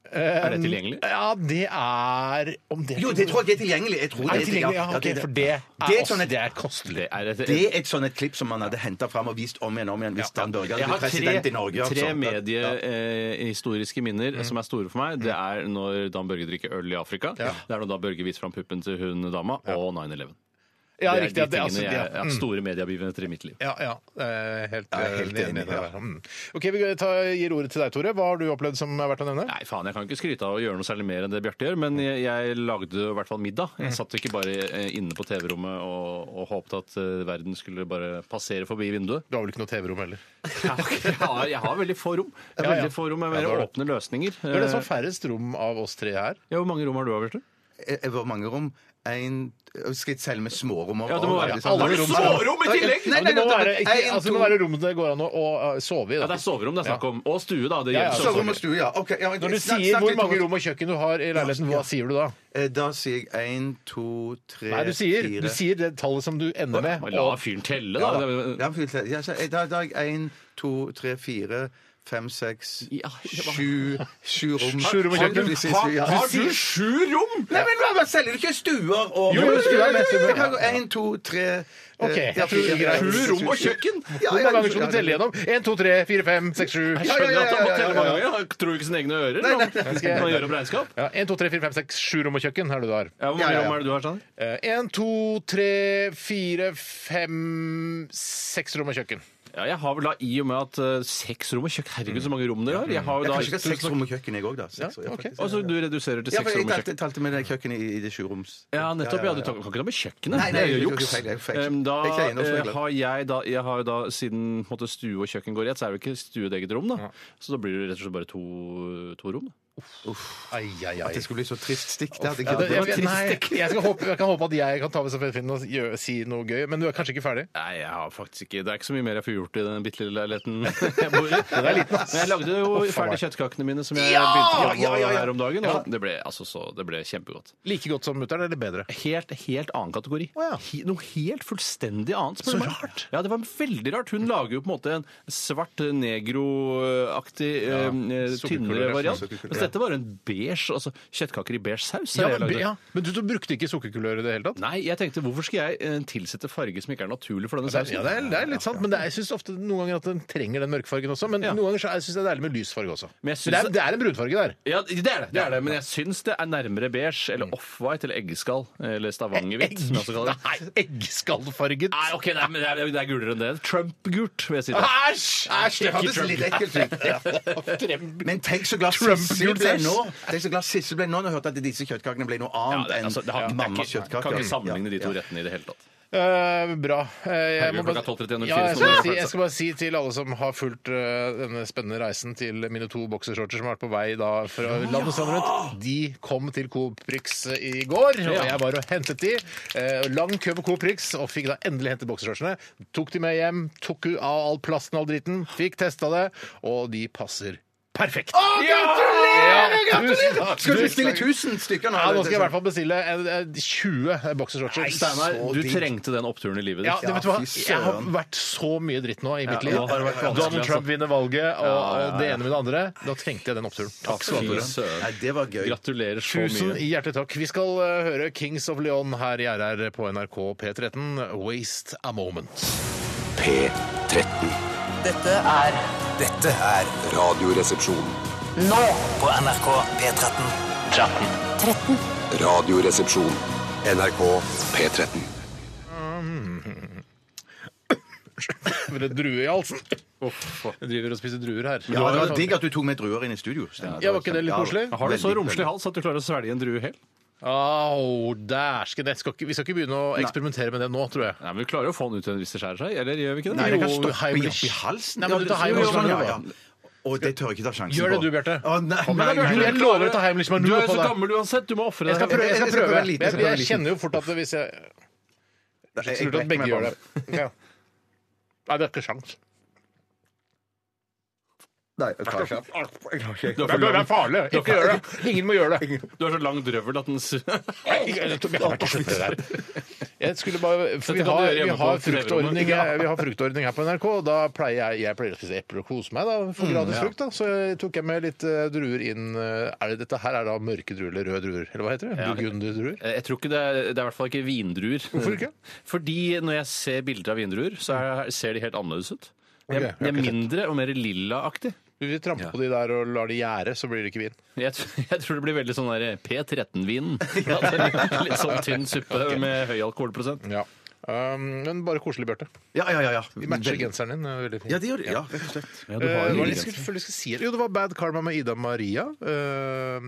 Er
Eh,
det tilgjengelig?
Ja, det er Om det
Jo, det tror jeg er tilgjengelig. Jeg tror
Er det tilgjengelig? Ja,
det
ok,
er det.
for det er,
Det er
også-
sånn et-
det er kostelig.
Det er et,
Det er et sånt et klipp som man hadde henta fram og vist om igjen og om igjen hvis Dan Børge
Jeg
hadde
har
blitt president
tre,
i Norge. altså.
tre mediehistoriske minner
Mm.
som er store for meg. Det er når Dan Børge drikker øl i Afrika. Det er når Dan Børge viser fram puppen til hun dama, og 9-11.
Ja,
det er
riktig. at
de
det- altså,
tingene jeg,
ja,
ja,
mm.
store mediebegivenheter i mitt liv.
Ja, ja. Eh, Helt,
jeg er
eh,
helt
enig
enig,
med deg
ja.
der. Mm. OK, vi tar, gir ordet til deg, Tore. Hva har du opplevd som er verdt å nevne?
Nei, faen, jeg kan ikke skryte av å gjøre noe særlig mer enn det Bjarte gjør, men jeg, jeg lagde i hvert fall middag. Jeg
Mm.
satt ikke bare eh, inne på TV-rommet og, og håpet at eh, verden skulle bare passere forbi vinduet.
Du har vel ikke noe TV-rom heller?
Jeg har, jeg har veldig få rom. Jeg
Ja,
har
ja.
veldig få rom med
Ja,
mer
det var det.
åpne løsninger.
Det
Eh,
er det som har færrest rom av oss tre her.
Ja, Hvor mange rom har du, Bjarte?
Eh, eh, Hvor mange rom? En, skal jeg selge med smårom? og-
Ja, det må være-
og- liksom-
Alle rom-
smårom i tillegg?
Nei,
Ja,
nei,
men det, må
nei,
være, ikke,
en,
altså, det
to-
må være rom det går an å, å eh, sove i.
Ja, det
Da.
er soverrom det er snakk
Ja.
om. Og stue, da. Det
Ja, ja,
gjelder
Soverom og
soverommet.
stue, ja. Ok, ja,
Når du
snakk-
sier
snakk
hvor
litt
mange
om-
rom og kjøkken du har i leiligheten, hva sier du da?
Eh, Da sier jeg én, to, tre,
Nei, du sier,
fire
du sier det tallet som du ender med.
La
Og,
fyren telle,
Ja,
da.
da. Ja, fylt- ja, så, eh, da, da er jeg én, to, tre, fire, fem, seks,
Ja, det var-
sju Sju rom.
Sju rom i
Har du
kjøkken.
de siste- ja.
sju rom?!
Nei, men hva, hva selger du ikke stuer og
Jo, jo, stuer, men-
Jeg kan gå én, to, tre eh,
Ok, jeg
ja,
tror det er
fire,
greit.
fem, seks,
Sju rom
sju,
og
sju.
kjøkken?
Ja,
hvor
ja,
mange ganger skal
ja,
du telle gjennom? 1, 2, 3, 4, 5, 6, 7
Jeg
Ja, ja, ja,
skjønner at han må
ja,
telle
ja, ja,
mange ganger. Han tror ikke sine egne ører.
Nei, nei, nei.
Han kan gjøre opp regnskap.
ja, 1, 2, 3, 4, 5, 6, 7 rom og kjøkken er det du har.
Ja, Hvor
Ja,
mange
ja, ja.
rom er det du har, Sanner?
1, 2, 3, 4, 5, 6 rom og kjøkken.
Ja, jeg har vel da i og med at eh, seks rom og kjøkken Herregud, så mange rom dere har. Jeg har jo
Jeg
da
kan ikke ha seks rom og kjøkken, jeg òg, da. Seks, ja,
ok.
faktisk.
Og så du reduserer til
Ja,
seks
for jeg
rom og kjøkken.
talte, talte med det kjøkkenet i, i det sjuroms.
Ja, nettopp. ja,
ja,
Du tar- kan ikke ta med kjøkkenet.
Nei,
det
nei,
er jo
det er
juks.
feil, det er feil.
Em, Da
Det er ikke jeg nå, så jeg
eh,
gleder.
har jeg da, jeg har jo da siden på en måte, stue og kjøkken går i ett, så er det jo ikke stue et eget rom, da. Så da blir det rett og slett bare to, to rom. da.
Ai, ai, ai.
At det skulle bli så trist stikk. Det hadde
Ja, det,
jeg
jeg,
ikke
nei, jeg, skal håpe, jeg kan håpe at jeg kan ta med stafettpinnen og gjøre, si noe gøy, men du er kanskje ikke ferdig?
Nei, jeg har faktisk ikke Det er ikke så mye mer jeg får gjort i den bitte lille leiligheten jeg bor i.
Den er liten, ass.
Men jeg lagde jo
Å, faen
ferdig
meg.
kjøttkakene mine som jeg begynte å jobbe
Ja, ja, ja.
her om dagen,
Ja.
og det ble, altså, så, det ble kjempegodt.
Like godt som mutter'n, eller bedre?
Helt, helt annen kategori.
Å, ja.
He- Noe helt fullstendig annet. spør
Så
du meg.
rart.
Ja, det var veldig rart. Hun lager jo på en måte en svart negroaktig, eh,
sukkerkulør,
tynnere
ja.
variant.
Sukkerkulør,
Mens
ja.
dette var en beige, altså kjøttkaker i beige saus. er
Ja,
det jeg
men,
lagde.
ja. men du, du brukte ikke sukkerkulør i det hele tatt?
Nei, jeg tenkte hvorfor skal jeg eh, tilsette farge som ikke er naturlig for denne
Det er,
sausen?
ja, det er, det er litt sant, men det er, jeg syns ofte noen ganger at den trenger den mørkefargen også. Men
Ja.
noen ganger så er- syns jeg det er deilig med lysfarge også.
Men jeg
Så det,
synes-
er, det er en brunfarge der.
Ja, Mm. det er det, det er det, men jeg syns det er nærmere beige eller offwhite eller eggeskall eller stavangerhvitt. som jeg også kaller det.
Nei, eggskallfarget.
Nei, ok, nei, men det er, det er gulere enn det. Trump-gult, vil jeg si. det.
Æsj! Æsj!
Det hørtes litt ekkelt ut. Men tenk så glad
Trump
Sissel
gjorde
ble
det.
nå Tenk så glad Sissel ble nå når hun hørte at disse kjøttkakene ble noe
Ja,
annet
det, altså, det har,
enn mammas
jeg kan, kan
kjøttkaker.
ikke altså. sammenligne de to rettene i det hele tatt.
Eh, bra. Eh, jeg,
Herregud,
må bare-
klokka 12.31
ja, jeg,
så
skal
må
bare
det altså.
si,
være
jeg skal bare si til alle som har fulgt eh, denne spennende reisen til mine to boksershorter som har vært på vei da fra landet sammen rundt, de kom til Coop Prix i går. Og
Ja.
jeg var og hentet de. Eh, lang kø på Coop Prix, og fikk da endelig hentet boksershortsene. Tok de med hjem, tok ut av all plasten og all dritten, fikk testa det, og de passer perfekt. gratulerer! gratulerer!
Skal du bestille 1000 stykker nå?
Ja, nå skal jeg i hvert fall bestille eh, eh, 20 boksershortser.
Steinar,
så
du
digg.
trengte den oppturen i livet
Ja,
ditt.
det, vet du hva?
fy søren.
Jeg har vært så mye dritt nå i mitt
Ja,
liv.
nå har det vært vanskelig,
Donald Trump
altså.
vinner valget, og,
ja,
og det ene med det andre. Da trengte jeg den oppturen. Takk skal du
Fy
ha. Tore.
Nei,
søren.
det var gøy.
Gratulerer så
Tusen
mye.
hjertelig takk. Vi skal eh, høre Kings of Leon her i RR på NRK P13. Waste a moment.
P13.
Dette er
Dette er
Radioresepsjon.
nå
på NRK P13.
13.
Radioresepsjon. NRK P13.
For en drue i halsen. Jeg driver og spiser druer her.
Ja, det var digg at du tok med druer inn i studio. Steinar.
Ja, var ikke det litt koselig?
Har du så
Veldig,
romslig hals at du klarer å svelge en drue helt?
Au, dæsken. Jeg skal ikke- Vi skal ikke begynne å eksperimentere med det nå, tror jeg.
Nei, men Vi klarer jo å få den ut igjen hvis det skjærer seg, eller gjør vi ikke det?
Nei, det kan
Jo,
stoppe i,
Heimlich.
oppi halsen.
Nei, men du tar Heimlich
Ja,
når du
ja,
er-
ja. Og det tør jeg ikke ta sjansen på.
Gjør det du, Bjarte.
Å, nei,
Kom
nei,
igjen,
nei,
Bjarte.
nei.
Jeg lover deg å ta Heimlich Manu
Du er
på
jo så
deg.
gammel uansett, du må ofre
Jeg skal
deg.
prøve. Jeg,
Jeg
skal
skal
prøve.
prøve en
Jeg,
liten, jeg skal
jeg,
prøve en liten.
kjenner jo fort at hvis jeg
Jeg- jeg
Slutt at
brekker
begge
meg
gjør det.
bare.
Ja. Nei, det er ikke sjans.
Nei, jeg tar
Du
ikke.
Det
har
er, det er farlig. Ikke gjør det. Ingen må gjøre det.
for- du har så lang drøvel at den s-
Jeg har ikke skjønt det der. Jeg skulle bare, for vi,
Dette kan du
har,
gjøre
vi,
hjemme
har
på
fruktordning, eh,
TV-rommet. Ja.
vi har fruktordning her på NRK, og da pleier jeg, jeg pleier å spise epler og kose meg. da,
Mm,
for gratis frukt. da, Så jeg tok jeg med litt eh, druer inn. eh, Er det, dette her er da mørke druer eller røde druer? Eller hva heter det? Burgunderdruer?
Jeg tror ikke det er, det er i hvert fall ikke vindruer.
Hvorfor ikke?
Fordi når jeg ser bilder av vindruer, så er, ser de helt annerledes ut. De
Ok,
er,
jeg har
de er
ikke sett.
mindre og mer lillaaktig.
Du vil trampe på de der og lar de gjære, så blir det ikke vin.
Jeg, tr- jeg tror det blir veldig sånn der P13-vin. Litt, litt sånn tynn suppe med høy alkoholprosent.
Ja. Um, men bare koselig, Bjarte.
Ja, ja, ja. ja.
Vi matcher
Veldig.
genseren din. eh, Veldig fint.
Ja, det gjør det. Ja, rett og slett.
Ja,
Eh, hva var det jeg skulle- følte jeg skulle si? Jo, det var Bad Karma med Ida Maria. Eh,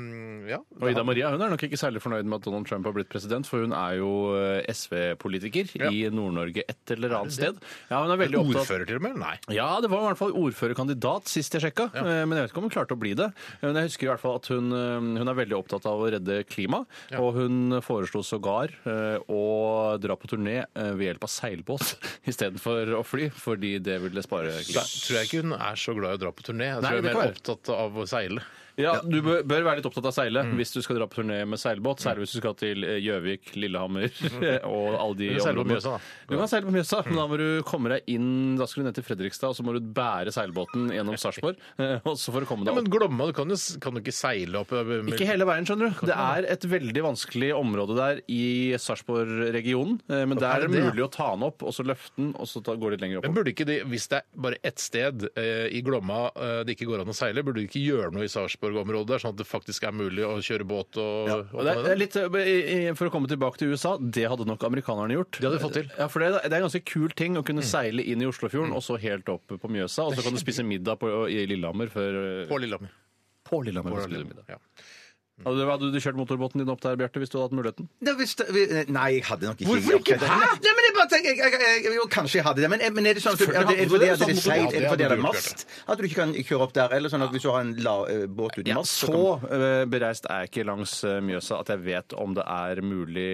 ja.
Og Ida Maria hun er nok ikke særlig fornøyd med at Donald Trump har blitt president, for hun er jo eh, SV-politiker i Nord-Norge et eller annet sted. Ja, hun er veldig opptatt
Ordfører til og med? Nei.
Ja, det var i hvert fall ordførerkandidat sist jeg sjekka, eh, men jeg vet ikke om hun klarte å bli det. Men jeg husker i hvert fall at hun, eh, hun er veldig opptatt av å redde klima, og hun foreslo sågar eh, å dra på turné eh, ved hjelp av seilbåt istedenfor å fly, fordi det ville spare
Da
klima.
tror jeg ikke hun er så glad i å dra på turné. Jeg
Nei,
tror hun
det
er
kan
mer
være.
opptatt av å seile.
Ja, Mm. du bør bør være litt opptatt av seile hvis du skal dra på turné med seilbåt, særlig hvis du skal til eh, Gjøvik, Lillehammer og alle de
Du kan seile på
områdene.
Mjøsa, da.
Du kan seile på Mjøsa, men da må du komme deg inn Da skal du ned til Fredrikstad, og så må du bære seilbåten gjennom Sarpsborg, eh, og så for å komme deg
Ja,
opp.
men Glomma, du kan jo, s- kan du ikke seile opp eh, med-
Ikke hele veien, skjønner du. Det er et veldig vanskelig område der i Sarpsborg-regionen. eh, Men der
Er
er
det
det
det,
mulig å ta den opp, og så løfte den, og så ta, gå litt lenger
Men
opp.
burde ikke de, Hvis det er bare ett sted eh, i Glomma eh, det ikke går an å seile, burde de ikke gjøre noe i Sarpsborg-området, der, sånn at det faktisk er mulig å kjøre båt og,
Og
og
det er, det er litt, eh, i- i- for å komme tilbake til USA, det hadde nok amerikanerne gjort. Det
hadde de fått til.
Ja, for det, er- det er en ganske kul ting å kunne seile inn i Oslofjorden, og så helt opp på Mjøsa, og så kan du spise middag på, i Lillehammer før
På Lillehammer.
på Lillehammer. kan du spise middag.
Ja.
Hadde, du- hadde du kjørt motorbåten din opp der, Bjarte, hvis du hadde hatt muligheten?
eh, Nei, hvis det- vi- Nei, jeg hadde nok ikke
Hvorfor ikke?
Nei, men jeg bare tenker, jeg, jeg, jeg, jo, kanskje jeg hadde det, men, men er det sånn at
Selvfølgelig
er det
hadde du
fordi
det,
at
sånn
det er
motor-
seigt, er
Ja,
det
det
fordi det
hadde
er
du
mast? At du ikke kan kjøre opp der? Eller sånn at hvis du har en la, eh, båt uten
Ja,
mast så kan-
så eh, bereist er jeg ikke langs eh, Mjøsa at jeg vet om det er mulig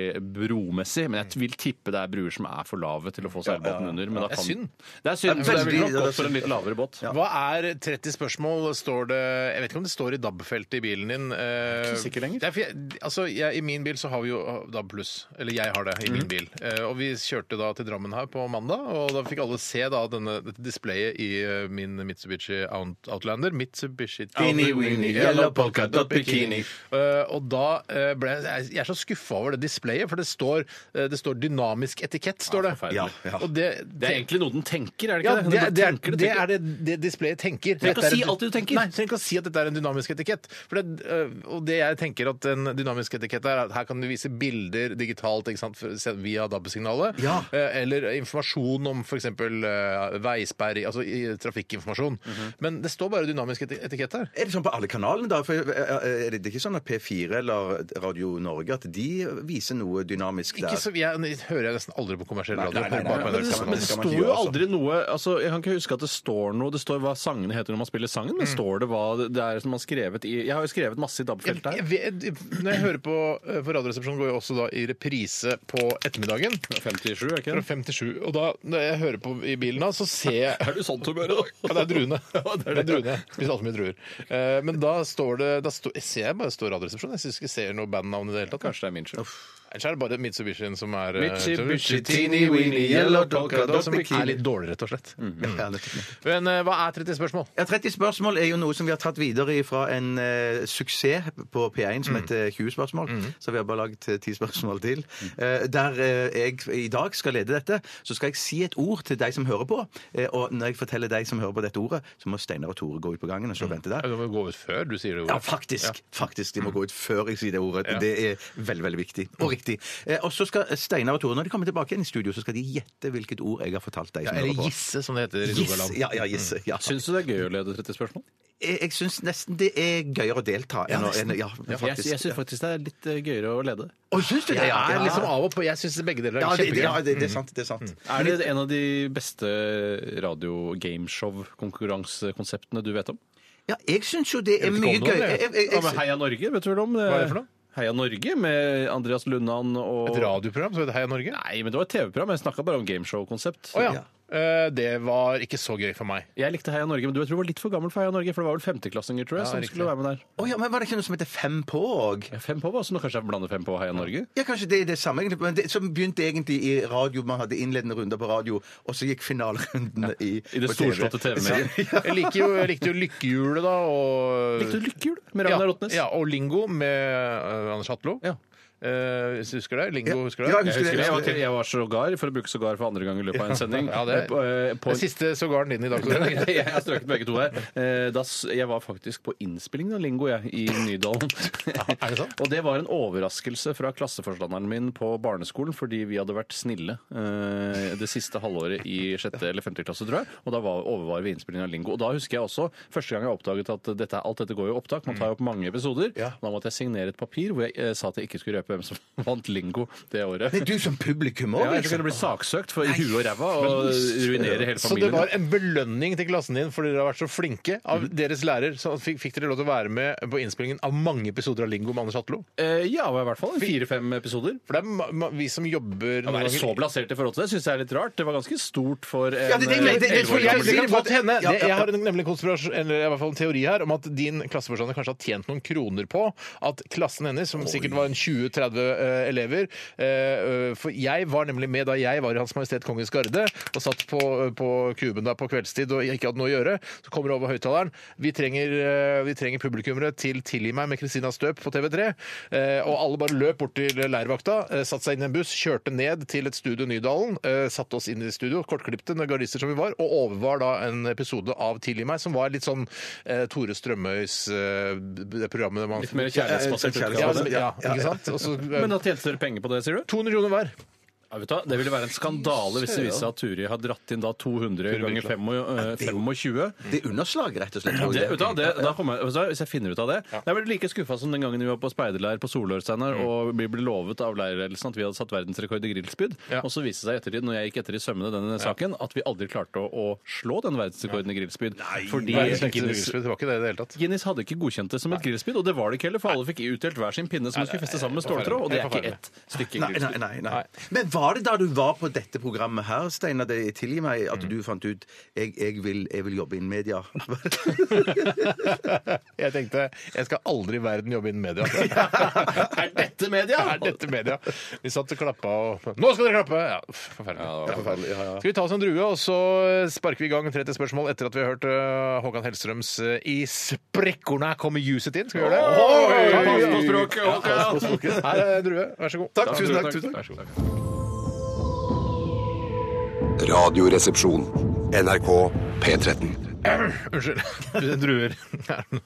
bromessig, men jeg vil tippe det er bruer som er for lave til å få seilbåten under. Men da
Det er
kan...
synd.
Det er synd.
Det er
men Det er
veldig-
vel nok godt for en litt lavere båt.
Hva er 30 spørsmål? Står det, jeg vet ikke om det står i DAB-feltet i bilen din. eh,
Ikke sikker lenger.
det er for jeg, altså, jeg, I min bil så har vi jo DAB pluss. Eller jeg har det i
Mhm.
min bil. Eh, og vi kjørte da til Drammen her på mandag, og da fikk alle se da denne, dette displayet i eh, min Mitsubishi Out- Outlander. Mitsubishi
Beanie weenie, yellow polka dot bikini.
Eh, og da eh, ble jeg, jeg- jeg er så skuffa over det displayet, for det står, eh, det står dynamisk etikett, står det.
forferdelig.
Ja, ja.
Og det,
Det er egentlig noe den tenker, er det
ja,
ikke
det, er- det,
Den tenker,
er,
den
det
tenker.
er det, det displayet tenker.
Trenger ikke å
Dette er
si
en-
alt du tenker.
Nei, trenger ikke å si at dette er en dynamisk etikett. For det, øh, og det jeg tenker at en dynamisk etikett er, at her kan du vise bilder digitalt ikke sant, for- se- via DAB-signalet.
Ja.
Eh, Eller informasjon om f.eks. veisperre, altså i- trafikkinformasjon. Men det står bare dynamisk eti- etikett her.
Er det sånn på alle kanalene, da? For eh, er det det er ikke sånn at P4 eller Radio Norge at de viser noe dynamisk der?
Ikke så, jeg, hører jeg nesten aldri på kommersiell radio.
nei, nei,
bare på
nei,
Men det,
NRK.
man-
men det
skal
står
man ikke
jo
gjøre sånn.
aldri noe altså, Jeg kan ikke huske at det står noe Det står hva sangene heter når man spiller sangen, men står det hva det er som man har skrevet i Jeg har jo skrevet masse i
Jeg,
DAB-feltet
jeg,
her.
vet- når jeg hører på eh, for Radioresepsjonen, går jo også da i reprise på ettermiddagen.
57, er ikke
Fra
det?
5 til 7. Og da, når jeg hører på i bilen da, så ser jeg
Er du sånn humør,
Ja,
da?
det er druene.
det er
Det er
det.
druene. Jeg Spiser altfor mye druer. Eh, Men da står det da står- jeg ser jeg bare står Radioresepsjonen. Jeg syns ikke jeg ser noe bandnavn i det hele tatt.
Kanskje det er min skyld.
Ellers er det bare Mitsubishien som er eh,
Mitsubishi, teeny weeny, yellow polka dot
Som er litt dårlig, rett og slett.
Ja, nettopp.
Men eh, hva er 30 spørsmål?
Ja, 30 spørsmål er jo noe som vi har tatt videre fra en eh, suksess på P1
Mm.
som heter 20 spørsmål. Så vi har bare laget eh, 10 spørsmål til.
Mm.
Eh, der eh, jeg i dag skal lede dette, så skal jeg si et ord til deg som hører på. Eh, og når jeg forteller deg som hører på dette ordet, så må Steinar og Tore gå ut på gangen og stå og vente
Ja,
der.
Du må gå ut før du sier det
Ja,
ordet.
faktisk. faktisk, De
Mm.
må gå ut før jeg sier det ordet. Det er veldig veldig viktig. Og riktig. Eh, og så skal Steinar og Tore, når de kommer tilbake igjen i studio, så skal de gjette hvilket ord jeg har fortalt deg.
Ja,
som
Eller
hører på.
gisse, som det heter i
Giss.
Rogaland.
Ja, ja, gisse. Ja.
Syns du det er gøy å lede 30 spørsmål?
Jeg, jeg syns nesten det er gøyere å delta enn å enn- Ja, faktisk.
Jeg, jeg syns faktisk det er litt eh, gøyere å lede.
Å, syns du det?
Jeg
Ja,
er
ja.
liksom av og på. Jeg syns begge deler
ja,
er
det, ja
kjempegøy.
det, det er sant. Det er sant.
Er det en av de beste radio-gameshow-konkurransekonseptene du vet om?
Ja, jeg syns jo det er
vet ikke
mye
om noen,
gøy.
jeg.
Jeg, jeg,
Ja, men
jeg,
Heia Norge, vet du vel om?
Hva er det for noe?
Heia Norge med Andreas Lundan og
Et radioprogram som heter Heia Norge.
Nei, men det var et TV-program. Jeg snakka bare om gameshow-konsept.
Å ja. Eh, Det var ikke så gøy for meg.
Jeg likte Heia Norge, men du jeg tror du var litt for gammel for Heia Norge. For det var vel femteklassinger tror
Ja,
jeg, som
riktig.
skulle være med der.
Å ja, men var det ikke noe som heter Fem på òg?
Ja, Fem på, hva? Så nå kanskje jeg blander fem på og Heia Norge?
Ja, kanskje det er det samme, egentlig. Men det, som begynte egentlig i radio, man hadde innledende runder på radio, og så gikk finalerunden i
I det
på TV.
storslåtte TV-mediet.
Jeg, liker jo, jeg likte jo Lykkehjulet, da. Og...
Likte du Lykkehjul med Ragnar
ja,
Rotnes?
ja, og Lingo med eh, Anders Hatlo.
Ja.
Eh, hvis du husker det? Lingo,
Ja.
husker du det?
Ja,
Jeg
husker
husker det. Jeg var,
det.
jeg var sågar, for å bruke sågar for andre gang i løpet av en sending
Ja, det-
eh, på, eh, på-
Den siste sågaren din i dag. Tore.
jeg har strøket begge to her. Eh, Da, s- jeg var faktisk på innspillingen av Lingo jeg, i Nydalen.
er det sant?
Og det var en overraskelse fra klasseforstanderen min på barneskolen, fordi vi hadde vært snille eh, det siste halvåret i sjette eller femte klasse, tror jeg. Og da var, overvar vi innspillingen av Lingo. Og da husker jeg også første gang jeg oppdaget at dette, alt dette går jo i opptak, man tar jo
Mm.
opp mange episoder. Og da måtte jeg signere et papir hvor jeg eh, sa at jeg ikke skulle røpe hvem som vant Lingo det året.
Nei, du som publikum òg,
Ja, ellers
liksom.
kunne du bli saksøkt for huet og ræva og ruinere hele familien. Mm.
Så det var en belønning til klassen din for dere har vært så flinke av deres lærer. Så fikk, fikk dere lov til å være med på innspillingen av mange episoder av Lingo med Anders Hatlo.
Eh, ja, i hvert fall fire-fem episoder.
For det er ma ma vi som jobber
Å
noen
være
ganger-
så blasert i forhold til det syns jeg er litt rart. Det var ganske stort for en
Ja, det- det- det- det-
eh,
Jeg,
det-
elleve år
jeg,
gammel.
det kan godt hende.
Ja, ja,
Det,
ja.
jeg har nemlig en konspirasjon, eller i hvert fall en teori her om at din klasseforstander kanskje har tjent noen kroner på at klassen hennes, som sikkert var en 20-30 eh, elever eh, eh, For jeg var nemlig med da jeg var i Hans Majestet Kongens Garde og satt på, eh, på kuben der på kveldstid og ikke hadde noe å gjøre. Så kommer det over høyttaleren. Vi trenger, eh, vi trenger publikummere til 'Tilgi meg' med Christina Støp på TV3. Eh, og alle bare løp bort til leirvakta, eh, satte seg inn i en buss, kjørte ned til et studio i Nydalen, eh, satte oss inn i studio, kortklipte gardister som vi var, og overvar da en episode av Tilgi meg, som var litt sånn eh, Tore Strømøys eh, det programmet man
Litt mer eh, kjærlighetsbasert
Ja,
ja,
utgave.
ja, ikke sant? Og så, eh,
Men da tjente dere penger på det, sier du?
200 kroner hver.
Ja, vet du, hva? det ville være en skandale hvis det viste seg at Turi har dratt inn da 200 ganger fem og, eh, 25.
Det er underslag, rett og slett.
Ja, det, vet du, hva, det, da kommer jeg, vet du hva, hvis jeg finner ut av det Jeg blir like skuffa som den gangen vi var på speiderleir på Solør Steinar, og vi ble lovet av leirledelsen at vi hadde satt verdensrekord i grillspyd.
Ja.
Og så viste det seg i ettertid, når jeg gikk etter i sømmene denne saken, at vi aldri klarte å, å slå den verdensrekorden i grillspyd. Fordi
Verdens lengste grillspill, det var ikke det i det hele tatt.
Guinness hadde ikke godkjent det som et grillspyd, og det var det ikke heller, for alle fikk utdelt hver sin pinne som de skulle feste sammen med
forferdelig.
ståltråd, og det er
Helt
ikke ett stykke
Nei,
grillspyd.
nei, nei, nei. Men var det da du var på dette programmet her, Steinar, det tilgi meg, at du fant ut jeg, jeg, vil, jeg vil jobbe innen media?
Jeg tenkte jeg skal aldri i verden jobbe innen media. er dette media? Er dette media? Vi satt og klappa og Nå skal dere klappe! Ja, uff, forferdelig. Ja, forferdelig. Skal vi ta oss en drue, og så sparker vi i gang 30 spørsmål etter at vi har hørt øh, Håkan Hellstrøms øh, I sprekkorna kommer ljuset inn. Skal vi gjøre det?
Oi!
Pass på
språket,
Ja,
Håkan!
pass på språket. Her er en drue. Vær så god.
Takk, tusen takk, tusen
Vær så god.
Radioresepsjon. NRK P13.
Unnskyld. Druer.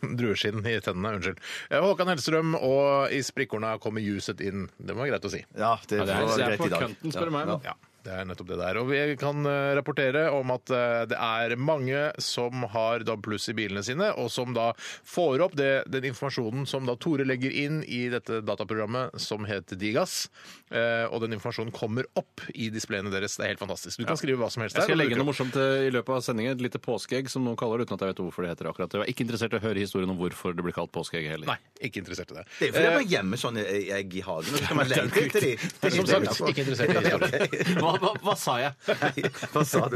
Drueskinn i tennene. Unnskyld. Eh, Håkan Hellstrøm og I sprikkorna kommer ljuset inn. Det var greit å si.
Ja, det,
det er-
var
det er
greit
på
i dag.
kønten, spør du meg, men-
Ja, det er nettopp det der. Og vi kan eh, rapportere om at eh, det er mange som har DAB pluss i bilene sine, og som da får opp det, den informasjonen som da Tore legger inn i dette dataprogrammet som heter Digas. Eh, Og den informasjonen kommer opp i displayene deres. Det er helt fantastisk. Du kan skrive hva som helst
Jeg
der. og
skal legge
bruker
noe
det.
morsomt eh, i løpet av sendingen. Et lite påskeegg, som noen kaller det, uten at jeg vet hvorfor det heter akkurat det. Jeg er ikke interessert i å høre historien om hvorfor det blir kalt påskeegg heller.
Nei, ikke interessert i det.
Det er jo fordi man gjemmer sånne egg sånn, i hagen, og så skal man lete etter de.
Som sagt, ikke interessert i historien.
Hva, hva, hva sa jeg?
Nei, hva sa du?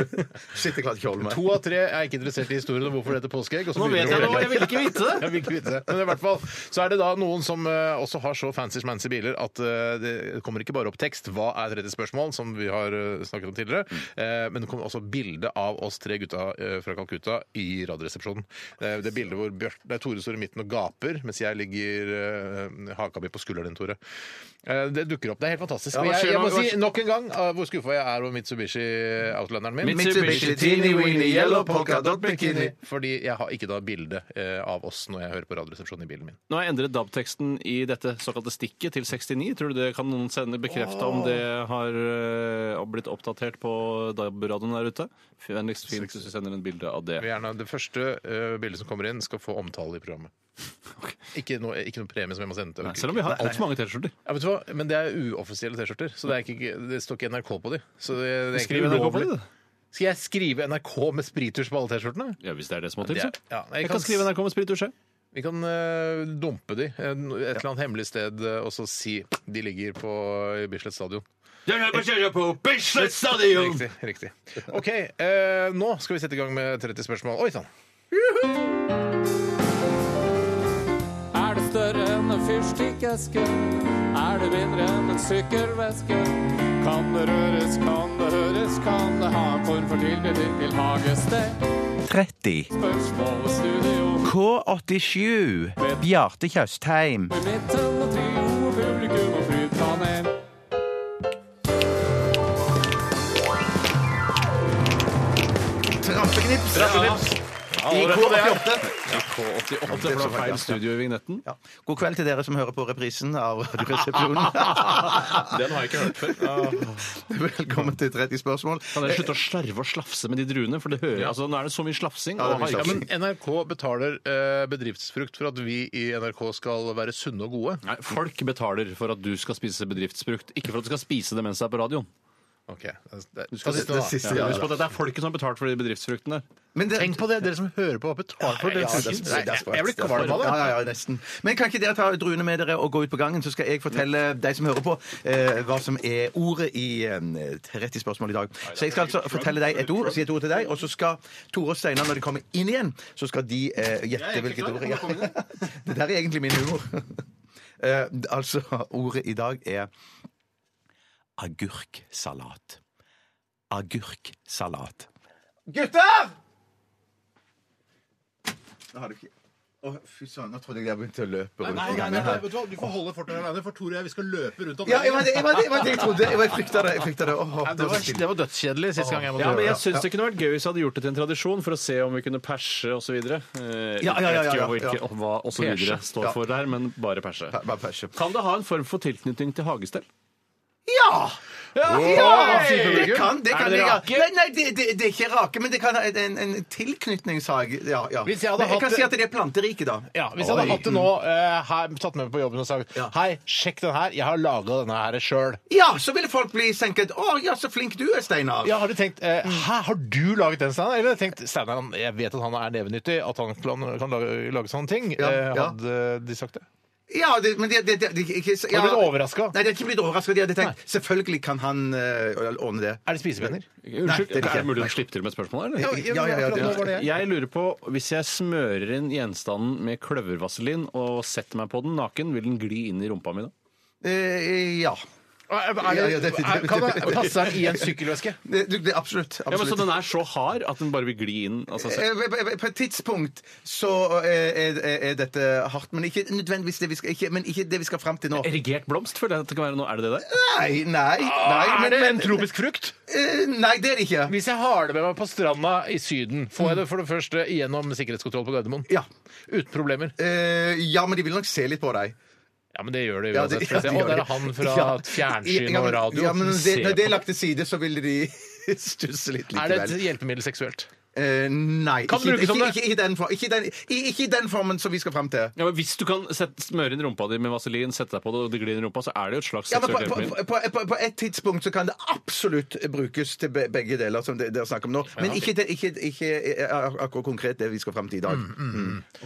Shit, jeg klarte ikke å holde meg.
To av tre er ikke interessert i historien om hvorfor det heter påskeegg. og så
Nå
begynner
vet
de å
jeg noe,
fortelle.
jeg ville ikke vite det!
Jeg vil ikke vite det. Men i hvert fall så er det da noen som eh, også har så fancy-smancy biler at eh, det kommer ikke bare opp tekst 'Hva er tredje spørsmål?' som vi har eh, snakket om tidligere, eh, men det kommer også bilde av oss tre gutta eh, fra Calcutta i Radioresepsjonen. Eh, Det er det bildet hvor Bjørt, det er Tore står i midten og gaper, mens jeg ligger eh, haka mi på skulderen din, Tore. Eh, Det dukker opp. Det er helt fantastisk. Og
hva
jeg,
skjer
jeg
nå?
må
Hva
si nok en gang eh, hvor skuffa jeg er over Mitsubishi Outlanderen min.
Mitsubishi teeny weeny yellow polka dot bikini.
Fordi jeg har ikke da bilde eh, av oss når jeg hører på Radioresepsjonen i bilen min.
Nå har jeg endret DAB-teksten i dette såkalte stikket til 69. Tror du det kan noen sende bekrefte om det har eh, blitt oppdatert på DAB-radioen der ute? Vennligst fint hvis du sender en bilde av det.
Jeg vil Gjerne, det første eh, bildet som kommer inn, skal få omtale i programmet. Ikke noe, ikke noe premie som jeg må sende til.
Nei, selv om vi har altfor mange T-skjorter.
ja, vet du hva? Men det er uoffisielle T-skjorter, så det, er ikke, det står ikke NRK på de. Så det, det er
Skriv
egentlig
NRK på
ulovlig.
det.
Skal jeg skrive NRK med sprittusj på alle T-skjortene?
Ja, hvis det er det som må til,
Det
så.
er- ja, jeg
jeg
kan
kan
s-
skrive NRK med sprittusje.
Vi kan eh, dumpe de eh, et eller annet hemmelig sted eh, og så si de ligger på eh, Bislett stadion. Riktig. riktig. OK, eh, nå skal vi sette i gang med 30 spørsmål. Oi sann!
Er det større enn en fyrstikkeske? Er det mindre enn en sykkelveske? Kan det røres, kan det høres, kan det ha en form for tilknytning til hagested?
30.
Spørsmål og studio
K87. Bjarte Tjøstheim.
i midten og trio og publikum og flytpanel.
Trampeknips! I K88.
K88 det ble feil studio i vignetten.
Ja. God kveld til dere som hører på reprisen av Radioresepsjonen.
Den har jeg ikke hørt før.
Velkommen til 30 spørsmål.
Kan dere slutte å slarve og slafse med de druene? For det hører, altså, Nå er det så mye slafsing.
Ja, det er
og
mye
Ja,
haik-
men NRK betaler eh, bedriftsfrukt for at vi i NRK skal være sunne og gode.
Nei, folk betaler for at du skal spise bedriftsbrukt, ikke for at du skal spise det mens det er på radioen.
Ok, det, det,
Du skal
det,
det siste,
ja,
ja,
Husk på at det er folket som har betalt for de bedriftsfruktene.
Men det-
Tenk på det, dere som hører på og betaler for det.
Ja, det er sprøtt, det er sprøtt.
Jeg blir kvalm av det.
Ja, ja, ja, nesten. Men kan ikke dere ta druene med dere og gå ut på gangen, så skal jeg fortelle deg som hører på, eh, hva som er ordet i eh, 30 spørsmål i dag. Så jeg skal altså fortelle deg et ord, og si et ord til deg, og så skal Tore og Steinar, når de kommer inn igjen, så skal de eh, gjette hvilket ord. Ja. Det der er egentlig min humor. Eh, altså, ordet i dag er agurksalat. Agurksalat.
Gutter!
Nå har du ikke... Å, fy søren, nå trodde jeg jeg begynte å løpe
Nei,
rundt. i
nei, nei,
gangen
nei,
her.
vet du hva? Du får holde fortet alene, for Tore og jeg vi skal løpe rundt om
Ja, jeg var det, jeg var det, jeg var det jeg trodde. Jeg, var, jeg frykta det. Jeg frykta det. Åh,
Det var, det var dødskjedelig sist gang jeg måtte
Ja, men
gjøre
jeg
det.
syns det kunne vært gøy hvis jeg hadde gjort det til en tradisjon for å se om vi kunne perse osv. Eh,
Ja, ja, ja, ja, ja.
Hva osv. står for der, men bare perse.
Bare perse.
Kan det ha en form for tilknytning til hagestell?
Ja!
Ja, sier publikum.
Det kan, det
Er
kan
det
jeg-
rake?
Nei, nei det, det, det er ikke rake, men det kan ha en, en tilknytningssag. Ja, ja.
Hvis jeg hadde
Men jeg
hatt-
kan si at det er planterike, da.
Ja, Hvis jeg hadde hatt det nå, eh, her, tatt med meg på jobben og sagt
Ja.
Hei, sjekk den her. Jeg har laga denne her sjøl.
Ja, så ville folk bli senket. Å, ja, så flink du er, Steinar.
Ja, har du tenkt eh, Hæ, har du laget den, Steinar? Eller har du tenkt Steinar, han- jeg vet at han er nevenyttig, at han kan, kan lage, lage sånne ting.
Ja,
eh,
ja.
hadde de sagt det?
Ja, det, men det, det, det, det ikke, ja.
Har du blitt overraska?
Nei, det er ikke blitt overraska. De hadde tenkt selvfølgelig kan han eh, ordne det.
Er det spisepinner?
Nei,
Unnskyld,
det er
er,
ikke.
det mulig å slippe til med et spørsmål? Eller?
ja, ja, ja,
akkurat
det-
nå var det jeg.
Jeg lurer på, Hvis jeg smører inn gjenstanden med kløvervaselin og setter meg på den naken, vil den gli inn i rumpa mi da?
Eh, ja.
Er,
Ja, ja,
er,
det-
det- er, kan det passe den i en sykkelveske?
Det, det, det, absolutt. absolutt.
Ja, men Så den er så hard at den bare vil gli inn altså, av seg selv?
Eh, på- på- På et tidspunkt så eh, er, er, er dette hardt, men ikke nødvendigvis det vi skal, ikke, men ikke det vi skal fram til nå.
Erigert blomst, føler jeg at det kan være nå. Er det det der?
Nei, nei, nei,
Ah, er
men,
det en
men
tropisk frukt?
eh, Nei, det er det ikke.
Hvis jeg har det med meg på stranda i Syden, får
Mm.
jeg det for det første gjennom sikkerhetskontroll på Gardermoen?
Ja.
Uten problemer?
Eh, ja, men de vil nok se litt på deg.
Ja, men det gjør det
Ja, de-
uansett.
ja,
for å si,
de
Å,
gjør
der
det.
er han fra
Ja.
fjernsyn
Ja,
og
men-
radio.
Ja, men
Se
det, når det
på.
er lagt til side, så vil de stusse litt
Er det
likevel.
et hjelpemiddel seksuelt?
Eh, nei.
Kan
ikke,
brukes om
ikke,
det.
ikke, ikke, i den, for- ikke, i den, i- ikke i den formen som vi skal fram til.
Ja, men Hvis du kan sette, smøre inn rumpa di med vaselin, sette deg på det, og det glir inn i rumpa, så er det jo et slags
Ja, men på,
seksuelt hjelpemiddel.
på, på, på, på et tidspunkt så kan det absolutt brukes til be- begge deler, som det- dere snakker om nå. Men ikke, det- ikke, ikke eh, ak- akkurat konkret det vi skal fram til i dag.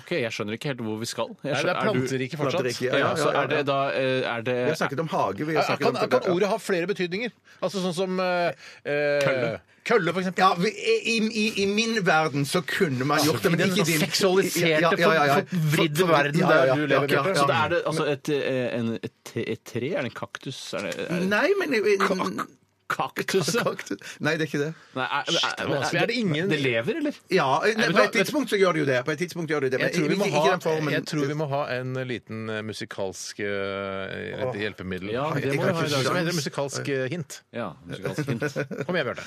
Ok, Jeg skjønner ikke helt hvor vi skal. Jeg
Nei, det er
skjønner- du-
planterike fortsatt.
Planterike, ja,
Ja,
ja,
så
ja,
er det
ja.
da eh, er det,
Vi har snakket om hage. Vi har snakket
Kan,
om,
kan ordet ha flere betydninger? Altså sånn som eh, eh,
Kølle.
Kølle, for eksempel.
ja, vi, i, i, I min verden så kunne man gjort det, men
den
ikke i din.
seksualiserte, forvridde verden
Ja, ja,
der du
ja,
lever,
ja,
Bjarte.
ja.
Så det er det altså et, eh, en, et, te- et tre? Er det en kaktus? Er det, er det,
Nei, men
kaktus? ja.
Kaktus. Nei, det er ikke det.
Nei, er, er,
er vanskelig. Er det ingen-
Det lever, eller?
Ja, nei,
du
på
hva,
et tidspunkt så gjør det jo det. På et tidspunkt gjør det jo det, men
Jeg tror, vi
ikke,
må
ikke
ha,
den formen.
jeg tror vi må ha en liten eh, musikalsk eh, et hjelpemiddel.
Ja, det
jeg
må
kan
vi ha i
ikke
dag.
Hva heter det? musikalsk eh, hint.
Ja, musikalsk hint.
Kom igjen, Bjarte.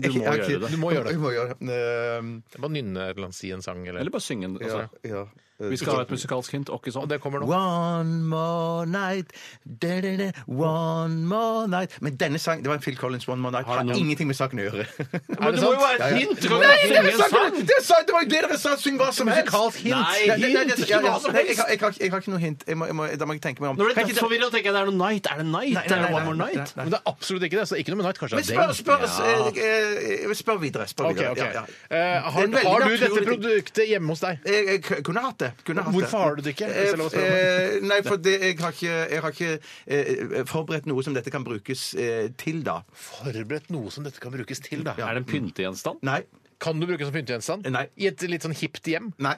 Du må gjøre det.
Du må gjøre det.
Du må gjøre det. Ehm,
Bare nynne et eller annet, si en sang eller
Eller bare synge den. Altså.
ja. Eh,
Vi skal ha et musikalsk hint, og ikke
Og
sånn.
det kommer nå.
One more night da, da, da, One more night Men denne sangen, det var en Phil Collins One more night Har ingenting med saken å gjøre
Er det sant?
være et hint! Du kan
Nei,
ikke
det
synge
var
en
saken!
sang!
Det, sa, det var jo det dere sa, syng hva som helst
Musikalsk hint.
Nei,
Nei, nei, nei,
hint!
nei,
Ikke hva som
nei, jeg,
helst!
jeg, har- jeg har ikke noe hint jeg må, jeg må, Da må jeg tenke meg om
Nå ble
Kan
jeg
ikke
litt
det-
forvirret og tenker jeg det er noe night. Er det night?
Nei, nei,
Er det
nei,
one more
nei, nei,
night?
nei.
Men det er absolutt ikke det, så ikke noe med night. Kanskje
Men
det
spør,
er den.
spør, eh, eh, spør videre, spør
Ok,
videre.
ok.
Ja, ja.
Eh,
Det er
har,
en veldig
har du dette
naturlig ting.
produktet hjemme hos deg?
Jeg, jeg Eh, k- kunne hatt det. Kunne hatt
Hvorfor har du det ikke, hvis det er lov å spørre
Eh, nei, for det, jeg har ikke, jeg har ikke eh, forberedt noe som dette kan brukes eh, til, da.
Forberedt noe som dette kan brukes til, da.
Er det en pyntegjenstand?
Nei.
Kan du bruke det som pyntegjenstand?
Nei.
I et litt sånn hipt hjem?
Nei.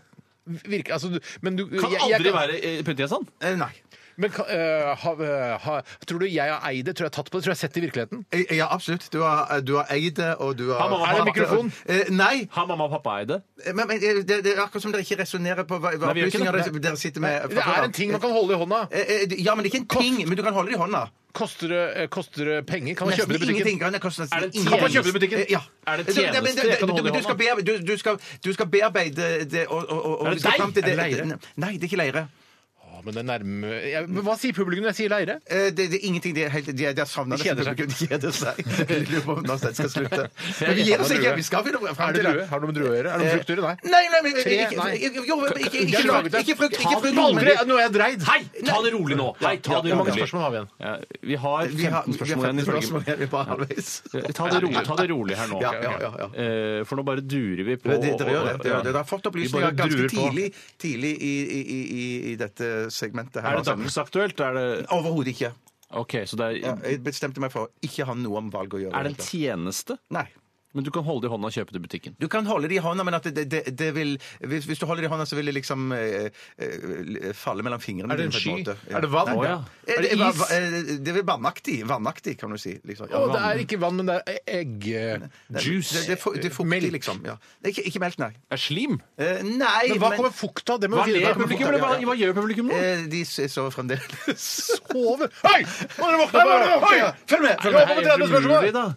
Virker, altså, du, men du
Kan
jeg- jeg
aldri være eh, pyntegjenstand.
Eh, nei.
Men kan- eh, ha, ha, Tror du jeg har eid det? Tror jeg har tatt på det? Tror jeg har sett det i virkeligheten?
Eh, Ja, absolutt. Du har, eh, du har eid det, og du har
Ha, mamma,
Er det
pappa.
mikrofon?
Eh, nei,
Har mamma og pappa eid det?
men, men eh, det, det er akkurat som dere ikke resonnerer på hva, hva
Nei, vi gjør ikke
opplysninger
det.
dere, dere sitter
Eh,
med.
Det er en ting man kan holde i hånda.
Eh, eh, Ja, men det er ikke en ting, men du kan holde det i hånda.
Koster det, eh, koster det penger? Kan man kjøpe det i
Nesten
butikken?
ingenting. Kan det koste nesten
Er det
ingenting.
Kan man kjøpe det i butikken?
Eh, Ja.
Er det
Så- nei, men
tjeneste jeg kan
du-
holde i
du- du skal bearbe- Du du skal- du skal bearbeide det og, og, og
Er det
vi skal
deig?
fram til
Er det leire?
Nei, det er ikke leire.
Å, men det er nærme... jeg, men hva sier publikum når jeg sier leire?
Eh, Det, det er ingenting. De, er helt, de, er- de har savna
De kjeder seg.
De kjeder seg. Jeg lurer på om Nasdaq skal slutte. Men vi gir oss ikke. Vi skal finne fram
Er det
til
drue? Har det noe med drue å gjøre? Er det noe fruktdure? Nei.
Eh, Nei, nei, men
Tre?
ikke,
Nei.
ikke, jo, men
Jeg
ikke, ikke,
har laget
frukt,
det.
ikke frukt. Ikke frukt
Ta- Aldri!
men-
Nå er jeg dreid!
Hei! Ta det rolig nå! Hei, ta det
Hvor mange
rolig.
spørsmål har vi igjen?
Ja, vi har
Vi
15
har vi har
spørsmål igjen.
15
ifølge-
spørsmål igjen. Vi er bare halvveis.
Ta det rolig, ta det rolig her nå.
Ja, ja, ja, ja.
Eh, For nå bare durer vi på.
Det, det, dere gjør det. Dere gjør det. Dere har fått
Vi
opplysninger
bare
ganske
druer på.
tidlig, tidlig i, i, i, i- i dette segmentet. her.
Er det dagsaktuelt? Er det
Overhodet ikke.
OK, så det
Ja,
er
Jeg bestemte meg for å ikke ha noe om valg å gjøre.
Er det en tjeneste?
Nei.
Men du kan holde det i hånda og kjøpe det i butikken.
Du kan holde det i hånda, men at det, det, det vil, hvis, hvis du holder det i hånda, så vil det liksom eh, eh, falle mellom fingrene.
Er det en
dine på
sky?
måte.
Er det vann?
Nei,
Å, ja.
Eh,
Er det
va-
is?
va- eh, Det er vannaktig, vannaktig, kan du si. Liksom.
Å, det er ikke vann, men det er egg... eh,
Juice.
Det, det, er fu- det er fuktig,
Melk.
liksom. Ja. Det er ikke, ikke melk, nei.
Er slim?
Eh, nei,
Men hva kommer fukt av? Det må
Hva
vi
ler
finne ut.
publikum? Eller Hva, hva gjør publikum nå?
eh, De s- sover fremdeles.
Sove! Hei! Må dere våkne opp! Hei!
Følg med!
Følg med!
Det er
Jobber med
helt
30 spørsmål!
umulig, da.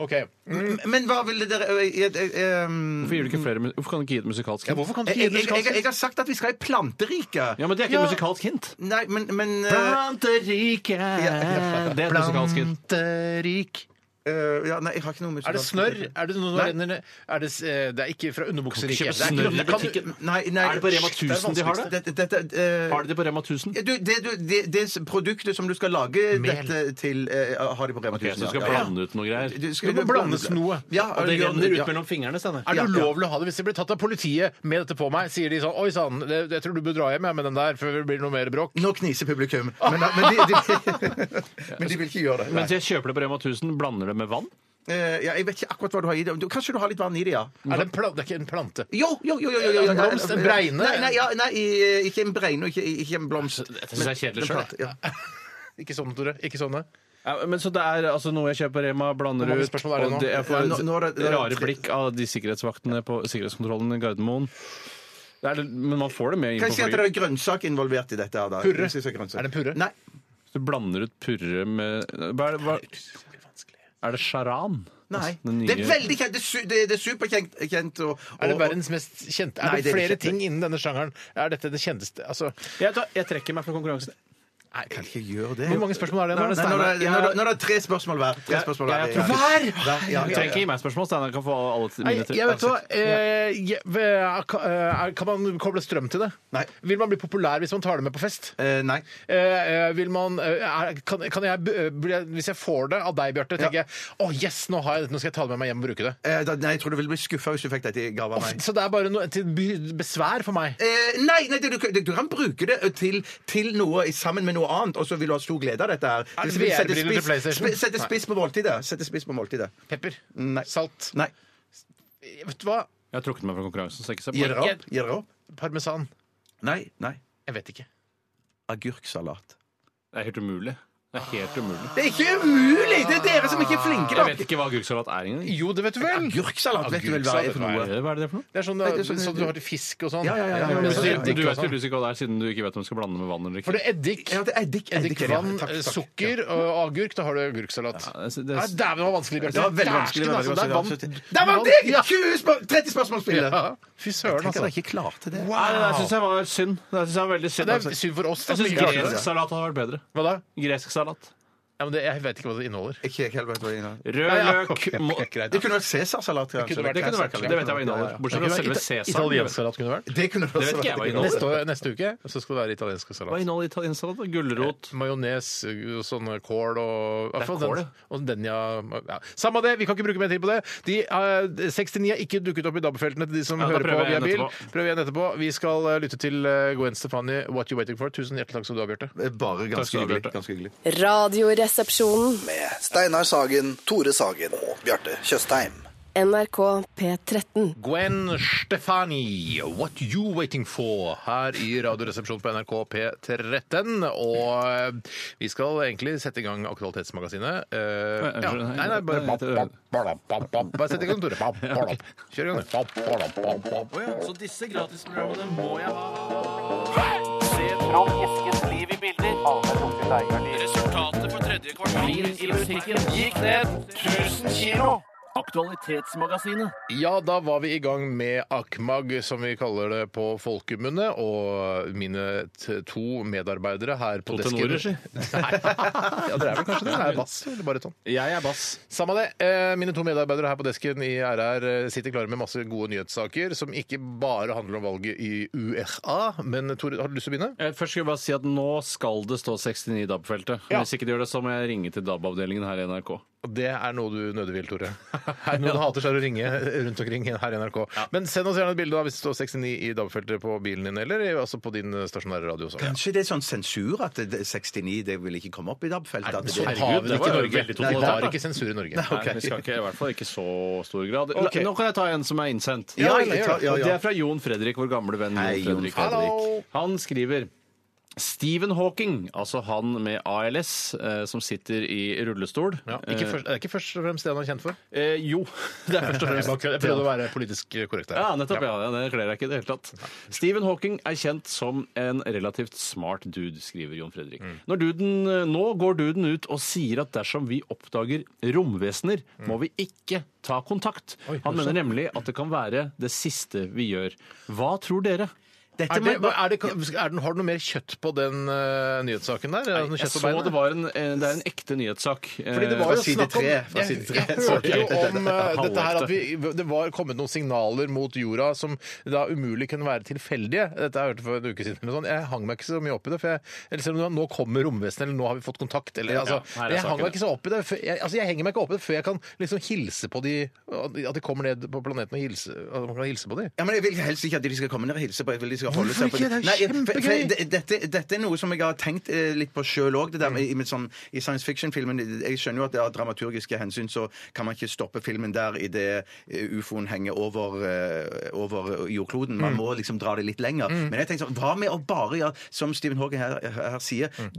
OK. Mm.
Men hva ville dere eh, eh, eh,
Hvorfor, gir du ikke flere, mu- hvorfor kan du ikke gi et musikalsk hint?
hvorfor kan du ikke
jeg,
gi
jeg,
det
jeg, jeg, jeg har sagt at vi skal i planteriket.
Ja, men Det er ikke
Ja.
et musikalsk hint.
Nei, men, men eh,
Planterike Det er et musikalsk hint.
Planterik.
eh, ja, Nei, jeg har ikke noe
Er det snørr? Er det noe som
Nei.
renner ned? Er det, s- eh, det er ikke fra underbukseriket.
kjøpe snørr i
Det er ikke-
butikken.
Nei, nei.
Er det på Rema
Shit, er
1000 de har det?
Dette, dette, eh,
Har de det på Rema 1000?
du, det, du, det, det s- produktet som du skal lage dette til, eh, har de på Rema 1000.
Ok, så du skal
ja.
blande ut noe greier.
Du,
Det må blandes noe.
Ja,
Og det
ja,
renner
ja.
ut mellom fingrene, Steinar.
Er det
Ja, ja.
ulovlig å ha det? Hvis jeg blir tatt av politiet med dette på meg, sier de sånn Oi sann, det- jeg tror du bør dra hjem jeg, med den der før det blir noe mer bråk.
Nå kniser publikum. Men, men, de, de, men de vil ikke gjøre det.
Mens jeg kjøper det på Rema 1000, blander det med vann?
Eh, ja, jeg vet ikke akkurat hva du har i det. Du, kanskje du har litt vann i det, ja.
Er det, en plan det er ikke en plante.
Jo, jo, jo, jo, jo, jo,
En blomst, en bregne?
Nei, nei, ja, nei i- eh, ikke en bregne og ikke, ikke en blomst.
Dette syns jeg er kjedelig
Men
sjøl.
plante, ja.
Ikke sånne, Tore. Ikke sånn, sånne.
Men så det er altså noe jeg kjøper på Rema, blander
Hvor mange
ut
spørsmål er det nå?
og Jeg
Ja,
får
nå- nå er det- det er
rare
tre-
blikk av de sikkerhetsvaktene på sikkerhetskontrollen i Gardermoen. Det er, litt- men man får det med inn
Kan jeg
på
si at det
flyet.
er grønnsak involvert i dette? her, da?
Purre?
Jeg synes det Er grønnsak.
Er det purre?
Nei.
Du blander ut purre med hva er, det, hva, er det charan?
nei.
Altså, den
Det er
nye-
veldig kjent. Det er, su det, det er superkjent. Kjent, og, og,
Er det verdens mest kjente Er
Nei,
det
det er
flere
ikke-
ting innen denne sjangeren? Er dette det kjenteste Altså
Jeg, tar, jeg trekker meg fra konkurransen.
Nei, kan ikke gjøre det.
Hvor mange spørsmål er det
Nå er
nå?
det
Nei, nå er det, nå er det, nå er det tre spørsmål hver. Tre
Ja,
spørsmål
ja,
hver.
jeg tror-
Hver? Ja,
Du
ja,
trenger ikke
ja.
gi meg spørsmål. Steinar kan få alle
Nei,
mine. til-
jeg vet hva, eh, jeg, eh, kan- eh, Kan man koble strøm til det?
Nei.
Vil man bli populær hvis man tar det med på fest?
Eh, nei.
Eh, eh, vil man, eh, er, kan, kan jeg, b- eh, bli- hvis jeg får det av deg, Bjarte, tenker jeg å yes, nå, har jeg, dette, nå skal jeg ta det med meg hjem og bruke det.
Eh, da, nei, jeg tror du ville bli skuffa hvis du fikk dette i gave av meg.
Så det er bare noe til by- besvær for meg.
Eh, nei, nei det, du, det, du kan bruke det eh, til, til noe i- sammen med noe annet, og så vil du ha stor glede av dette. her.
Er det
Du vil sette
VR-briller til
spiss,
PlayStation?
spi- sette spiss på måltidet. Sette spiss på måltidet.
Pepper.
Nei.
Salt.
Nei.
Vet du hva?
Jeg har trukket meg fra konkurransen. Så ikke se på.
Gir dere
Jeg-
opp? Gir dere opp?
Parmesan.
Nei. nei.
Jeg vet ikke.
Agurksalat.
Det er helt umulig. Det er helt umulig.
Det er ikke umulig! Det er dere som ikke er flinke
Jeg
nok.
vet ikke hva agurksalat er engang.
Jo, det vet du vel!
Agurksalat vet du vel hva er for noe?
Hva er det for noe?
Det er sånn,
Nei, det er
sånn,
sånn-
du har til fisk og sånn.
Ja, ja, ja, ja, ja.
Men
Men
så-
så-
eddik
Du
og
vet
sånn.
tydeligvis ikke hva det er, siden du ikke vet om du skal blande med vann eller
For
ikke.
det er eddik.
Ja, det er eddik. eddik, ja.
Eddikvann,
Takk, takk, takk.
sukker og agurk. Da har du agurksalat.
Ja, det-
Nei, Dæven,
det-
det var vanskelig, Bjarte.
Det var veldig vanskelig.
Dæsken,
Det var
altså, det
veldig
er
vanskelig.
vann-
Der vant jeg!
Ja.
20 spør- 30 spørsmålsspillet!
Ja. Fy søren,
Tenk at dere
altså.
ikke klarte det.
Nei, det syns jeg var synd. Det synes jeg var veldig synd. altså.
Det er synd for oss, da.
Jeg
som
syns
ikke klarte det.
gresk salat hadde vært bedre.
Hva da?
Gresk salat.
Ja, men det, jeg vet ikke hva det inneholder.
Ikke helt vet hva jeg mener.
Rød
Ja, ja,
løk
ok,
må-
ok, greit.
Det kunne vært cæsarsalat.
kunne
kanskje.
vært
Det kunne vært det. Det vet jeg hva
Ja, ja.
inneholder. Bortsett fra selve sesam.
Italiensk salat kunne vært.
Det kunne det
Det vet
også
ikke jeg hva
vært.
inneholder.
Neste, år, neste uke så skal det være italiensk
Hva
salat.
inneholder italiensk salat? da? Gulrot?
Majones, uh, sånn kål og
Det er
hvertfall
kål,
den, og den ja, ja. Samme det, vi kan ikke bruke mer tid på det. De eh, 69 er ikke dukket opp i DAB-feltene til de som
Ja, da
hører på
prøver
via
jeg igjen
bil.
etterpå.
Prøv igjen etterpå. Vi skal eh, lytte til eh, Gwen Stefani, 'What You Waiting For'. Tusen hjertelig takk skal du ha, Bjarte.
Bare ganske
skal du ha,
hyggelig.
Bjarte.
Ganske hyggelig.
Radioresepsjonen.
Med Steinar Sagen, Tore Sagen og Bjarte Tjøstheim.
NRK P13.
Gwen Stefani, 'What You Waiting For', her i Radioresepsjonen på NRK P13. Og eh, vi skal egentlig sette i gang Aktualitetsmagasinet. Eh, ja. Nei, nei, bare Bare sett i gang, Tore. Kjør i gang, du.
Så disse gratisprogrammene må jeg ha. Resultatet på tredje kvartal i musikken gikk ned 1000 kilo. Aktualitetsmagasinet.
Ja, da var vi i gang med AKMAG, som vi kaller det på folkemunne. Og mine t to medarbeidere her på
To
desken
tenorer, si.
Nei. Ja, dere er vel kanskje det? Er bass eller baryton?
Jeg er bass.
Samme det. Eh, Mine to medarbeidere her på desken i RR eh, sitter klare med masse gode nyhetssaker som ikke bare handler om valget i USA. Men Tore, har du lyst til å begynne?
Eh, Først skal jeg bare si at Nå skal det stå 69 i DAB-feltet.
Ja.
Hvis ikke det gjør det, så må jeg ringe til DAB-avdelingen her i NRK.
Det er noe du nødig vil, Tore. Her, noen hater seg å ringe rundt omkring her i NRK. Men send oss gjerne et bilde da, hvis det står 69 i DAB-feltet på bilen din, eller i- altså på din eh, stasjonære radio. Også.
Kanskje det er sånn sensur at det- 69 det vil ikke komme opp i DAB-feltet? at
Sånn
det-
herregud,
har vi det ikke i
var jo
Norge.
veldig
Vi
totalitært,
har
da.
ikke sensur i Norge.
Nei, vi skal ikke, I hvert fall ikke i så stor grad. La-
Ok.
Nå kan jeg ta en som er innsendt.
Ja, jeg tar- ja, ja.
Og Det er fra Jon Fredrik, vår gamle venn.
Hei,
Jon
Jon
Fredrik.
Fredrik.
Hallo!
Han skriver Stephen Hawking, altså han med ALS eh, som sitter i rullestol
Ja, ikke først, det er ikke først og fremst det han er kjent for.
Eh, jo, det er først og
Jeg
fremst
bare kødder. jeg prøvde å være politisk korrekt her.
Ja, nettopp. Ja. Det kler jeg ikke i det hele tatt. Stephen Hawking er kjent som en relativt smart dude, skriver Jon Fredrik.
Mm.
Når duden, nå går duden ut og sier at dersom vi oppdager romvesener,
Mm.
må vi ikke ta kontakt. Han mener nemlig at det kan være det siste vi gjør. Hva tror dere?
Dette
Er det,
må-
er det, er den, har du noe mer kjøtt på den eh, nyhetssaken der? Er det noe
Jeg
kjøtt på
så
beinet?
det var en, eh, det er en ekte nyhetssak.
Fordi det var
Fra
jo
side
snakk om
tre, fra
Jeg,
side tre.
jeg hørte jo
Sorry.
om eh, dette her
Halvofte.
at vi, det var kommet noen signaler mot jorda som da umulig kunne være tilfeldige. Dette har jeg hørte for en uke siden. Eller sånn. Jeg hang meg ikke så mye opp i det. For jeg, eller selv om det var, nå kommer romvesenet, eller nå har vi fått kontakt. Eller, altså,
her er
jeg hang
saken.
meg ikke så opp i det. Før, jeg, altså, jeg henger meg ikke opp i det før jeg kan liksom hilse på de At de kommer ned på planeten og hilse, at man kan hilse på de.
Ja, men Jeg vil helst ikke at de skal komme ned og hilse på. Jeg vil de skal holde
Hvorfor
seg på
ikke? Det er
Nei, jeg- for- for-
kjempegøy!
det- Dette, dette er noe som jeg har tenkt eh, litt på sjøl òg. I, med sånn, I science fiction-filmen Jeg skjønner jo at det av dramaturgiske hensyn så kan man ikke stoppe filmen der idet ufoen henger over, eh, over jordkloden.
Mm.
Man må liksom dra det litt lenger. Men jeg tenker sånn, hva med å bare gjøre som Stephen Hawking her, her sier,
Mm.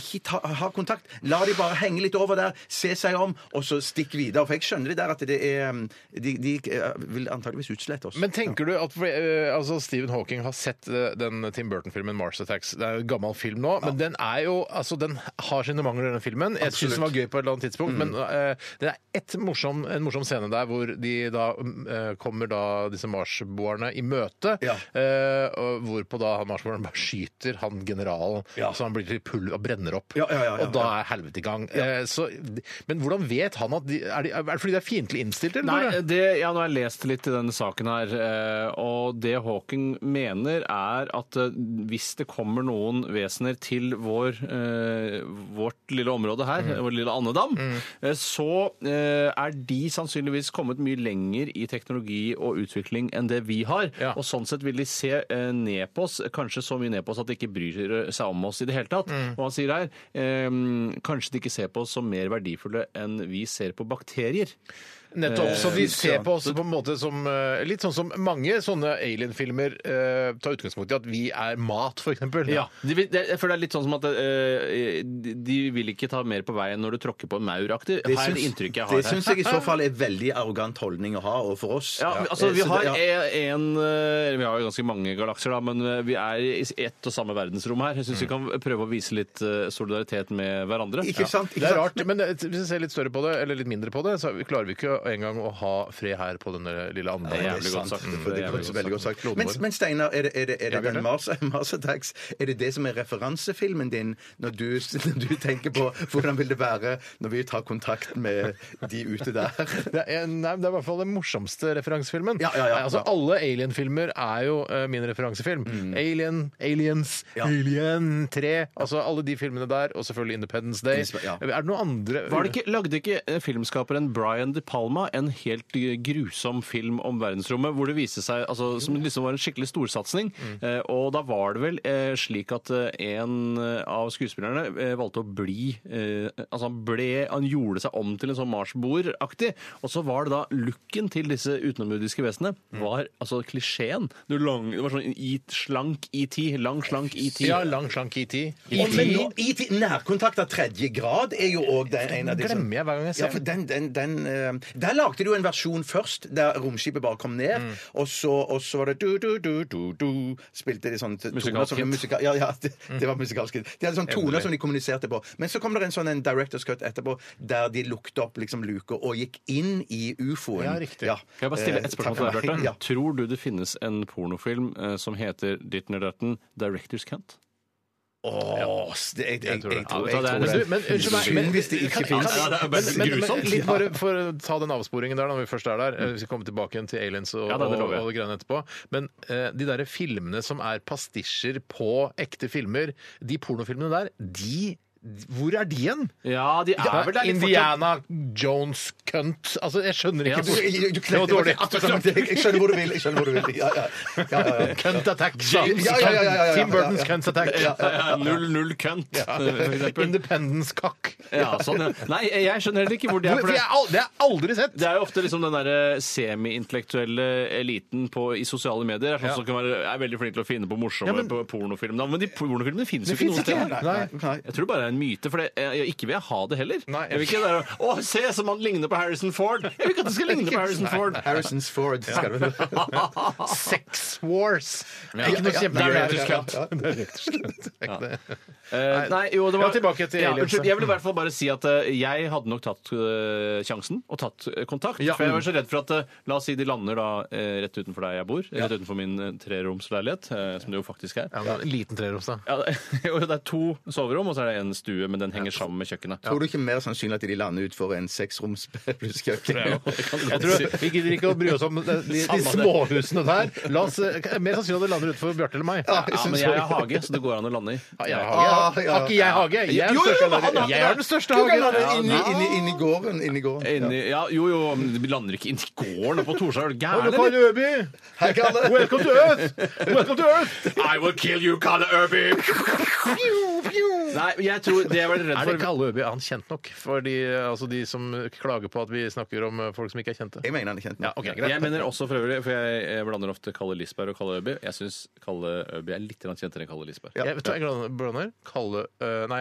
ikke ta, ha kontakt. La de bare henge litt over der, se seg om, og så stikk videre. For jeg skjønner det der at det er mm, De, de eh, vil antageligvis utslette oss.
Men tenker du at eh, altså Stephen Hawking har sett eh, den Tim Burton-filmen 'Mars Attacks'? Det er jo en gammel film nå, men den er jo altså den har sine mangler, denne filmen. Jeg syns den var gøy på et eller annet tidspunkt,
Mm.
men eh, det er ett morsom, en morsom scene der hvor de da eh, kommer da disse marsboerne i møte,
Ja.
eh, og hvorpå da han marsboeren bare skyter han generalen,
Ja.
så han blir til pulver og brenner opp.
Ja, ja, ja, ja,
og da er helvete i gang. Eh, så, men hvordan vet han at de Er, de, er det fordi de er fiendtlig innstilt, eller?
Nei,
bare?
det, ja, nå har jeg lest litt i denne saken her, eh, og det Hawking mener er at eh, hvis det kommer noen vesener til vår, eh, vårt lille område her, vår lille andedam, eh, så eh, er de sannsynligvis kommet mye lenger i teknologi og utvikling enn det vi har,
Ja.
og sånn sett vil de se eh, ned på oss, kanskje så mye ned på oss at de ikke bryr seg om oss i det hele tatt. Og han sier her, eh, kanskje de ikke ser på oss som mer verdifulle enn vi ser på bakterier.
Nettopp. Så de ser på oss på en måte som eh, Litt sånn som mange sånne alien-filmer eh, tar utgangspunkt i at vi er mat, f.eks.
Ja. De vil, det, jeg føler det er litt sånn som at eh, de de vil ikke ta mer på veien når du tråkker på en mauraktig. Her er det
syns-
inntrykket jeg
det
har her.
syns jeg i så fall er veldig arrogant holdning å ha overfor oss.
Ja, men altså Vi
Så
har
det- ja.
en eh, Vi har jo ganske mange galakser, da, men eh, vi er i ett og samme verdensrom her. Jeg syns vi kan prøve å vise litt eh, solidaritet med hverandre.
Mm. Ikke sant? Ikke
Det er
sant?
rart, men hvis vi ser litt større på det, eller litt mindre på det, så klarer vi ikke engang å ha fred her på denne lille
Det er
andelen.
jævlig godt sagt. Det
For det
er
er
jævlig
veldig
godt
godt sagt.
Kloden
Men,
vår.
men Steinar, er det, er det, er det
Bjarte?
den Mars, Mars Attacks Er det det som er referansefilen din når du, når du tenker på hvordan vil det være når vi tar kontakt med de ute der?
Det er, nei, det er i hvert fall den morsomste referansefilmen.
Ja, ja, ja.
Nei, altså, alle Alien-filmer er jo eh, min referansefilm. Alien, Aliens, Alien 3 Altså alle de filmene der, og selvfølgelig Independence Day.
Ja.
Er det noen andre
Var det ikke, lagde ikke eh, filmskaperen Brian De Palma en helt eh, grusom film om verdensrommet, hvor det viste seg, altså, som liksom var en skikkelig storsatsing? Eh, og da var det vel eh, slik at eh, en eh, av skuespillerne eh, valgte å bli eh, Altså han ble Han gjorde seg om til en sånn marsboeraktig, og så var det da looken til disse utenomjordiske vesenene var altså klisjeen. Du lang, det var sånn i- slank ET, lang, slank ET.
Ja, lang, slank E ET.
Og, men nå, i ti- nærkontakt av tredje grad er jo òg den en av de som
Glemmer jeg hver gang jeg ser
Ja, for den, den, den eh, Der lagde du en versjon først, der romskipet bare kom ned,
Mm.
og, så, og så var det du-du-du-du-du Spilte de sånn t- toner
Musikalsk
som
hit.
musika, Ja, ja, det,
Mm.
det var musikalsk hit. De hadde sånne toner som de kommuniserte på. Men så kom det en sånn en director's cut etterpå, der de lukket opp liksom luker og gikk inn i ufoen.
Ja, riktig.
Kan jeg bare stille et
Eh,
spørsmål
takk
til deg,
for meg.
Bjarte?
Ja.
Tror du det finnes en pornofilm eh, som heter Ditten eller Datten, Directors Cunt?
Åh, det, jeg, jeg, jeg, tror jeg
Ja,
tror
det er-
Men,
det.
du, men unnskyld meg men,
Synd hvis det
kan-
ikke finnes.
kan-
Ja, det er bare
men, men, men,
grusomt.
litt bare for å ta den avsporingen der, da, når vi først er der. eh, Vi skal komme tilbake igjen til aliens og,
Ja, det lover jeg.
og, og greiene etterpå. Men eh, de derre filmene som er pastisjer på ekte filmer, de pornofilmene der, de Hvor er de hen?
Ja, de er vel der litt
Indiana Jones cunt. Altså, jeg skjønner ikke hvor
Du, du
Det var dårlig.
Jeg skjønner hvor du vil. Jeg skjønner hvor du vil. Ja, ja. Ja, ja, ja.
Cunt attack. sa han.
Ja, ja, ja, ja, ja, ja.
Tim Burtons cunt attack.
fortsatt. Null, null kønt, for eksempel.
Independence cock.
Ja, sånn, ja. Nei, jeg skjønner heller ikke hvor de er.
For
For
jeg
det.
har al- det har jeg aldri sett.
Det er jo ofte liksom den der semi-intellektuelle eliten på, i sosiale medier er sånn som kan være, er veldig flink til å finne på morsomme
Ja, men-
på pornofilmer. Men de pornofilmene finnes jo
Det fins
ikke noe
ikke.
sted.
Nei.
Nei.
Jeg tror det bare er en myte, for det, jeg, jeg, ikke vil jeg ha det heller.
Nei.
jeg vil ikke det der, Å, se som han ligner på Harrison Ford! Jeg vil ikke at det skal ligne på Harrison Ford!
Harrison's Ford. Skal du
Eh, Sex wars. Ikke noe
ja,
kjempegreit.
det er rett og
Det er rett og slett. Det er ikke det.
Eh, nei, jo, det var,
Ja, tilbake til
ja,
aliens.
unnskyld, Jeg vil i hvert fall bare si at eh, jeg hadde nok tatt eh, sjansen og tatt eh, kontakt.
Ja.
For jeg var så redd for at eh, La oss si de lander da eh, rett utenfor der jeg bor. Rett utenfor min eh, treromsleilighet, eh, som det jo faktisk er.
Ja, men en liten treroms, da.
Ja, og det er to soverom, og så er det en stue, men den henger sammen med kjøkkenet.
Tror du ikke mer sannsynlig at de lander utfor en seksroms pluss kjøkken?
Jeg tror Vi gidder ikke å bry oss om de, de, de småhusene der. La oss, eh, mer sannsynlig at det lander utenfor Bjarte eller meg.
Ja, men jeg har hage, så det går an å lande i.
Ja, jeg har hage. Har ikke jeg hage? Jeg er den
Jo, jo,
største
men han har
hagen.
ikke
Jeg er
det.
den største
Du kan
hagen.
lande inni, inni, inni gården. Inni gården.
Inni, ja, jo, jo, men vi lander ikke inni gården og på Torshov. Er
Hallo,
du gæren,
Karl
eller?
Øby.
Hei, Kalle.
Welcome to Earth! Welcome to Earth!
I will kill you, Kalle Øby! Nei, men jeg tror det jeg var redd
Er det
for
Kalle Øby? Er han kjent nok for de, altså de som klager på at vi snakker om eh, folk som ikke er kjente?
Jeg mener han er kjent.
Ja, ok, greit.
Jeg mener også for øvrig, for jeg, jeg blander ofte Kalle Lisberg og Kalle Øby. Jeg syns Kalle Øby er litt grann kjentere enn Kalle Lisberg.
Jeg vet du hva jeg blander- blander? Kalle, eh, nei,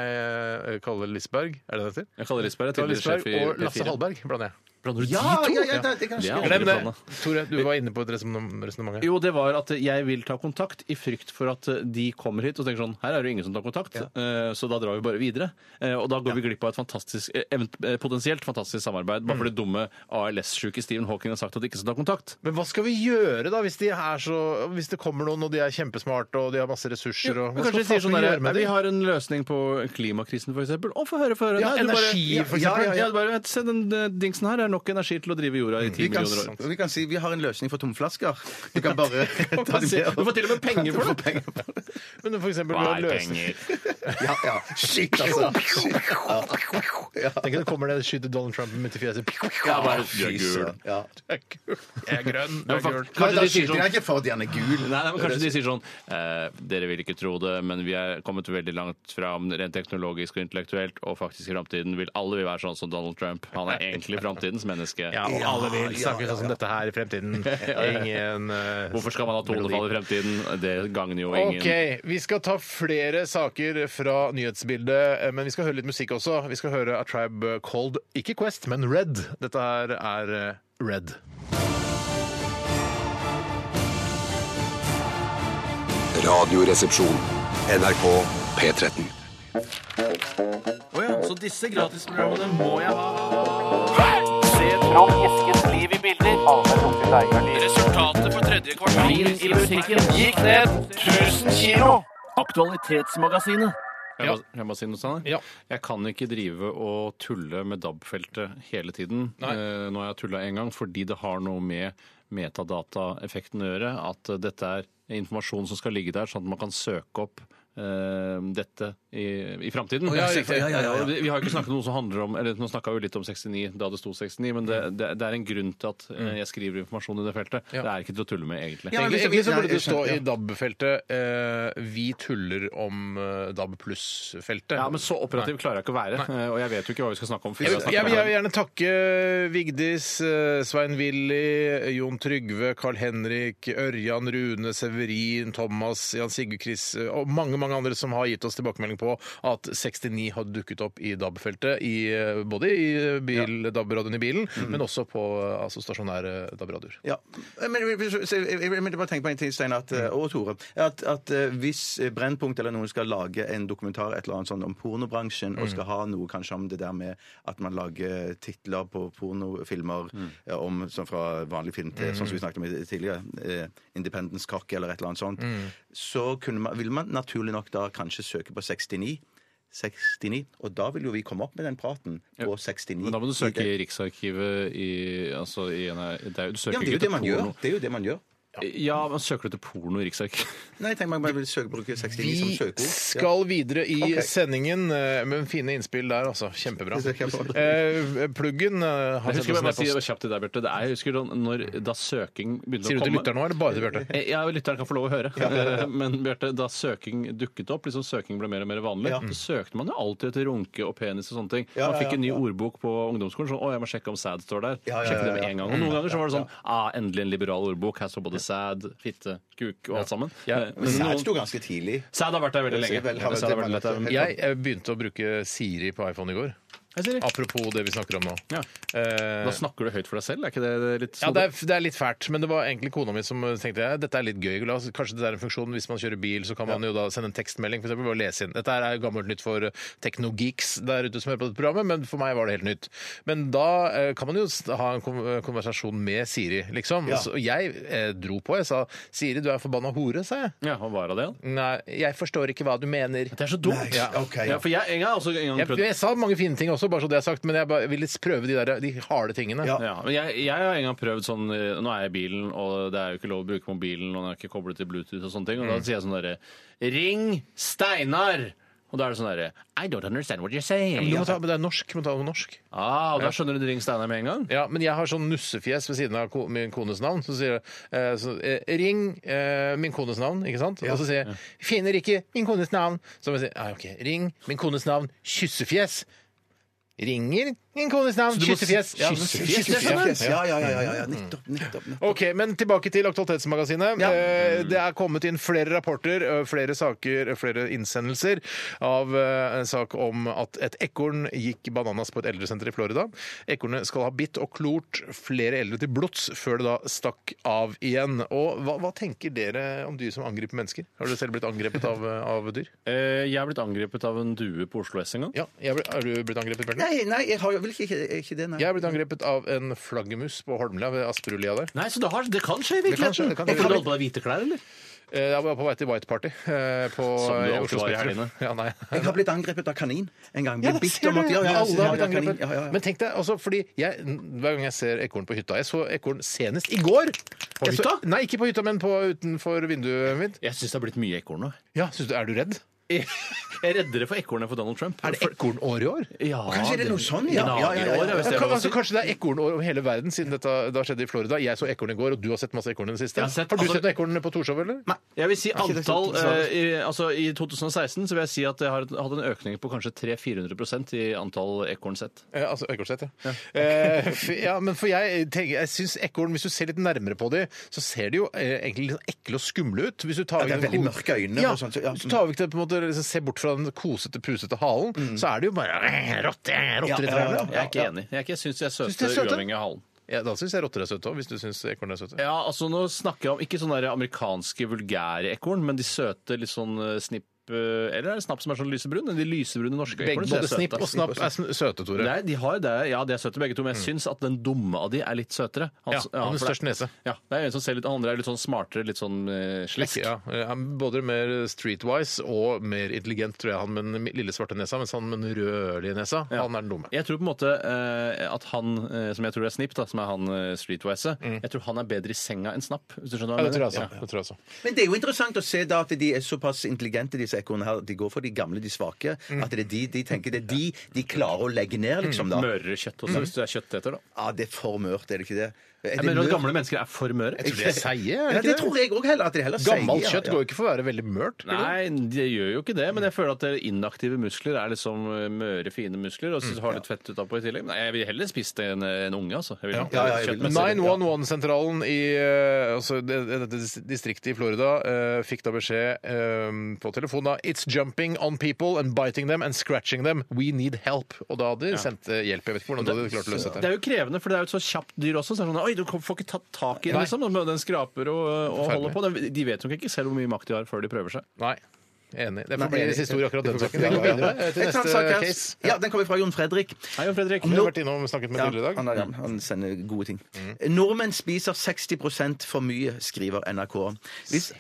eh, Kalle Lisberg, er det det heter?
Ja, Kalle Lisberg er
Kalle
tidligere sjef
Lisberg
i
og
P4.
Lasse Hallberg blander jeg.
Blander du
Ja,
de to?
Ah, ja, ja, det, det kan
Det
skje.
er
Glem
aldri
det!
blanda.
Tore, du var inne på et resonnement.
Jo, det var at jeg vil ta kontakt i frykt for at eh, de kommer hit og tenker sånn Her er det jo ingen som tar kontakt, eh, så da drar vi bare videre. Eh, Og da går vi glipp av et fantastisk, eh, event- eh, potensielt fantastisk samarbeid, bare fordi dumme ALS-sjuke Stephen Hawking har sagt at de ikke skal ta kontakt.
Men hva skal vi gjøre da, hvis, de er så, hvis det kommer noen og de er kjempesmarte og de har masse ressurser? Og,
Men
hva
kanskje de
skal
sier sånn
faen
der,
gjøre med
Vi
dem?
har en løsning på klimakrisen, for eksempel. Å, få høre, få høre.
Ja,
Nei, du bare-
energi, for
Ja,
eksempel.
ja, ja, du bare, Se, den eh, dingsen her er nok energi til å drive jorda i ti
Vi kan,
millioner år.
vi kan si vi har en løsning for tomflasker. Du kan bare ta dem
Du får
med.
til og med penger for det!
Men for eksempel, med å løse-
Ja, ja. Shit, altså.
Tenk at det kommer det skyter Donald Trump midt i fjeset.
Ja, bare,
Fy søren. Ja.
Jeg er gul. Jeg er grønn.
Ja,
Jeg er
fuck.
gul.
Nei,
Kanskje
da
de sier
skyter
sånn
jeg ikke for at de er gul.
Nei, nei, men Kanskje de sier sånn eh, Dere vil ikke tro det, men vi er kommet veldig langt fram rent teknologisk og intellektuelt, og faktisk i framtiden vil alle vi være sånn som Donald Trump. Han er egentlig framtidens menneske.
Ja, og alle vil snakke sånn som dette her i fremtiden. Ingen eh,
Hvorfor skal man ha tonefall i fremtiden? Det gagner jo ingen.
OK. Vi skal ta flere saker fra nyhetsbildet, eh, men vi skal høre litt musikk også. Vi skal høre A Tribe Called Ikke Quest, men Red. Dette her er eh, Red.
Radioresepsjon. NRK P13.
Jeg, må, jeg må si noe sånn.
Ja.
Jeg kan ikke drive og tulle med DAB-feltet hele tiden.
Nei.
Eh, nå har jeg tulla en gang fordi det har noe med metadataeffekten å gjøre. At eh, dette er informasjon som skal ligge der, sånn at man kan søke opp eh, dette i, i framtiden.
ja, riktig. Ja, ja, ja, ja.
Vi vi har ikke snakket noe som handler om eller Nå snakka vi jo litt om 69 da det sto 69, men det, det, det er en grunn til at eh, jeg skriver informasjon i det feltet.
Ja.
Det er ikke til å tulle med, egentlig.
Ja, men
Egentlig, egentlig så
liksom- ja,
burde
jeg
det stå
skjønner,
i
ja.
DAB-feltet eh, 'Vi tuller om eh, DAB pluss-feltet'.
Ja, men så operativ klarer jeg ikke å være. eh, Og jeg vet jo ikke hva vi skal snakke om. før
Jeg vil,
snakker
jeg
om
vil
det.
jeg vil gjerne takke Vigdis, eh, Svein Willy, Jon Trygve, Carl Henrik, Ørjan, Rune, Severin, Thomas, Jan Sigurd Chris eh, og mange mange andre som har gitt oss tilbakemelding på at 69 har dukket opp i DAB-feltet. i, eh, Både i bil, DAB-radioen i bilen, men også på eh, altså stasjonære DAB-radioer.
Ja. Men jeg vil- så- jeg vil- jeg vil bare tenke på en ting, Steinar
Mm.
at- eh, og Tore. At, at eh, hvis Brennpunkt eller noen skal lage en dokumentar et eller annet sånn om pornobransjen,
Mm.
og skal ha noe kanskje om det der med at man lager titler på pornofilmer
Mm.
eh, om sånn fra vanlig film til sånn som vi snakket om i- tidligere, eh, Independence Cock eller et eller annet sånt,
Mm.
så kunne man, vil man naturlig nok da kanskje søke på 69. 69, Og da vil jo vi komme opp med den praten på 69.
Men da må du søke
i det.
i Riksarkivet i, altså, i en, det er, jo- Du søker
Ja, men det er jo
ikke
det man
etter
gjør.
porno.
Det er jo det man gjør.
Ja, men søker du til porno i Riksarkivet?
Nei, tenk meg bare vil søke bruke 69 som
Vi
søkeord.
skal videre i
Ok.
sendingen, eh, men fine innspill der, altså. Kjempebra.
Det ser jeg på.
Eh, Pluggen eh, har
Jeg
sendt
husker
oss en
bare å si det
e-post.
kjapt til deg, Bjarte. Det er, jeg husker da, når, da søking begynte
Sier
å
du til
komme
lytteren nå, eller bare til Bjarte?
Eh, Ja, lytteren kan få lov å høre. Eh, Men Bjarte, da søking dukket opp, liksom søking ble mer og mer vanlig, så søkte man jo alltid etter runke og penis og sånne ting. man fikk en ny ordbok på ungdomsskolen sånn 'Å, jeg må sjekke om sæd står der'.
Ja, ja,
Sjekke det
ja,
med
ja.
en gang. Og noen ganger så var det sånn 'Ah, endelig en liberal ordbok. Her står både sæd, fitte, kuk og alt sammen'.
Ja.
Eh,
Men
Men
Sæd
noen,
sto ganske tidlig.
sæd har vært der veldig
Det
lenge.
sier vel- har
Sæd har
vært
vært der.
det-
Jeg eh, begynte å bruke Siri på iPhone i går. Apropos det vi snakker om nå.
Ja.
Eh,
Da snakker du høyt for deg selv, er ikke det litt sånn-
ja, det er, det er litt fælt, men det var egentlig kona mi som eh, tenkte ja, dette er litt gøy. La oss, kanskje det er en funksjon hvis man kjører bil, så kan man jo da sende en tekstmelding for eksempel, og lese inn. Dette er jo gammelt nytt for eh, teknogeeks der ute som hører på dette programmet, men for meg var det helt nytt. Men da eh, kan man jo s- ha en kon- eh, konversasjon med Siri, liksom. Så jeg eh, dro på, jeg sa Siri, du er forbanna hore, sa jeg.
Ja, hva var det? da?
Nei, jeg forstår ikke hva du mener.
Det er så dumt!
Ja.
Ok,
Ja, for jeg, jeg har også en gang
Jeg,
prøvd
jeg sa mange fine ting også, bare så det er sagt, men jeg bare ville prøve de, der, de harde tingene.
Ja.
Ja, men jeg, jeg har en gang prøvd sånn eh, Nå er jeg i bilen, og det er jo ikke lov å bruke mobilen, og den er ikke koblet til Bluetooth og sånne ting.
Mm.
Og da sier jeg sånn derre Ring Steinar! Og da er det sånn derre I don't understand what you're saying.
Men Du må ta, men det er norsk. Du må ta det på norsk.
Ah, og da skjønner du Ring Steinar med en gang?
Ja, men jeg har sånn nussefjes ved siden av ko min kones navn. Så sier jeg eh, så, eh, 'ring eh, min kones navn', ikke sant? Og så sier jeg 'finner ikke min kones navn'. Så må jeg si ah, OK, 'ring min kones navn, kyssefjes'. Ringer min kones navn,
du må s-
kyssefjes. Ja,
kyssefjes,
kyssefjes,
Ja,
ja.
ja, ja, ja, ja, ja. Nettopp, nettopp. nettopp.
Ok, men tilbake til Aktualitetsmagasinet. Eh, Det er kommet inn flere rapporter, eh, flere saker, eh, flere innsendelser av eh, en sak om at et ekorn gikk bananas på et eldresenter i Florida. Ekornet skal ha bitt og klort flere eldre til blods før det da stakk av igjen. Og hva, hva tenker dere om dyr som angriper mennesker? Har dere selv blitt angrepet av, eh, av dyr?
Eh, jeg er blitt angrepet av en due på Oslo S en gang.
Ja, jeg ble, Har du blitt angrepet, Bjørn?
Nei, nei, jeg har jo vel ikke, ikke det, nei.
Jeg er blitt angrepet av en flaggermus på Holmlia ved Asperulia der.
Nei, så det, har, det kan skje i
kan skje,
virkeligheten.
det kan
Hvorfor
skje.
har du holdt på deg hvite klær, eller?
Eh, Jeg var på vei til White Party eh, på
Som du
eh,
alltid
Oslo
var i
Spektrum.
helgene.
Ja, nei.
Jeg har blitt angrepet av kanin en gang.
Ja,
Blitt
da
bitt
ser
og
du!
måtte- ja, ja,
Alle har blitt
ja, kanin.
angrepet.
Ja, ja, ja.
Men tenk deg, altså, fordi jeg, hver gang jeg ser ekorn på hytta Jeg så ekorn senest i går. På
hytta?
nei, ikke på hytta, men på, utenfor vinduet mitt.
Jeg syns det har blitt mye ekorn nå.
Ja, synes du, Er du redd?
Jeg er reddere for ekornet for Donald Trump.
Er det ekornår i år?
Ja,
Kanskje det er noe sånn, ja.
gnager
Ja, ja, ja, ja.
i år,
Ja,
hvis det er
kan,
lov å si.
altså, kanskje det er ekornår over hele verden, siden dette da skjedde i Florida. Jeg så ekorn i går, og du har sett masse ekorn i det siste.
Jeg har sett-
har du
altså-
sett noen ekorn på Torshov, eller?
Nei.
Jeg vil si
ikke det
antall
sant, Sara?
eh, i, altså, I 2016 så vil jeg si at jeg har hatt en økning på kanskje 300-400 i antall ekornsett.
Eh, altså ekornsett, ja. Eh, f- ja, men for jeg tenker, jeg syns ekorn, hvis du ser litt nærmere på dem, så ser de jo eh, egentlig litt sånn ekle og skumle ut. Hvis du tar
Ja, det er
vekk den
veldig
ko-
mørke øyne
Ja,
og sånt, så- ja. mm.
Hvis du tar vekk det, på en måte, liksom, ser bort fra den kosete, pusete halen, så er det jo bare eh, rotte, rotter i
Ja, ja, ja,
trærne.
Jeg er ikke enig. Jeg, er ikke, jeg syns de er søte,
Syns de er søte?
uavhengig av halen.
Ja, da syns jeg rotter er søte òg, hvis du syns ekorn er søte.
Ja, altså Nå snakker jeg om ikke sånne der amerikanske vulgære ekorn, men de søte, litt sånn eh, snipp eh, Eller er det snapp som er sånn lysebrun? De lysebrune norske
Begge,
ekornene
både
synes jeg er
snipp
søte.
og snapp er sn- søte, Tore.
Nei, de har det. Ja, de er søte begge to, men jeg syns at den dumme av de er litt søtere. Han-
Ja, han med
for det-
størst nese.
altså, Ja, det er en som ser litt, han andre er litt sånn smartere, litt sånn eh, slesk.
Ja, eh, både mer streetwise og mer intelligent, tror jeg, han med den lille svarte nesa, mens han med den rødlige nesa,
Ja.
han er den dumme.
Jeg tror på en måte eh, at han eh, som jeg tror er Snipp, da, som er han eh, streetwise, jeg tror han er bedre i senga enn Snapp. Hvis du skjønner hva
Mm. Ja,
jeg
det tror jeg
mener?
altså. Det tror jeg altså.
Men det er jo interessant å se da at de er såpass intelligente, disse ekornene her. De går for de gamle, de svake.
Mm.
At det er de de tenker det er de de klarer å legge ned, liksom.
Mm.
da.
Mørere kjøtt også, hvis du er kjøtteter, da.
Ja, det er for mørt, er det ikke det? Er
Jeg
det
mener at
mørt?
gamle mennesker er for møre.
Jeg tror de er seige, er det
Ja,
ikke
det
det?
tror jeg òg heller. At de heller
Gammelt
sier, ja,
kjøtt
ja.
går jo ikke for å være veldig mørt. gjør det?
Nei, de gjør jo ikke det, men jeg føler at det innaktive muskler er liksom eh, møre, fine muskler, og
Mm.
så har litt fett utapå i tillegg. Nei, jeg vil heller spist en, en unge, altså. Jeg vil nok
Ja, ja, jeg vil-
kjøttmessig.
911-sentralen i eh, altså, det- det- dette distriktet i Florida eh, fikk da beskjed eh, på telefonen da It's jumping on people and biting them and scratching them. We need help. Og da hadde de sendt eh, hjelp. Jeg vet ikke hvordan de hadde klart å løse
Det
dette.
er jo krevende, for det er jo et så kjapt dyr også. Så er det sånn, Oi, du får ikke tatt tak i den,
Nei.
liksom. Den skraper og, og
Forferdelig.
holder på. Den- De vet nok ikke selv hvor mye makt de har før de prøver seg.
Nei. Enig. Det
Nei,
får bli
enig.
deres historie akkurat den saken. Vi går
Ja, ja.
videre eh, til
Jeg tar en
neste
sak her.
case.
Ja, den kommer fra Jon Fredrik.
Hei, Jon Fredrik. Vi
Nå-
har vært innom og snakket med
Ja,
tidligere i
han,
dag.
er, han sender gode ting. Nordmenn spiser 60 for mye, skriver NRK. Hvis,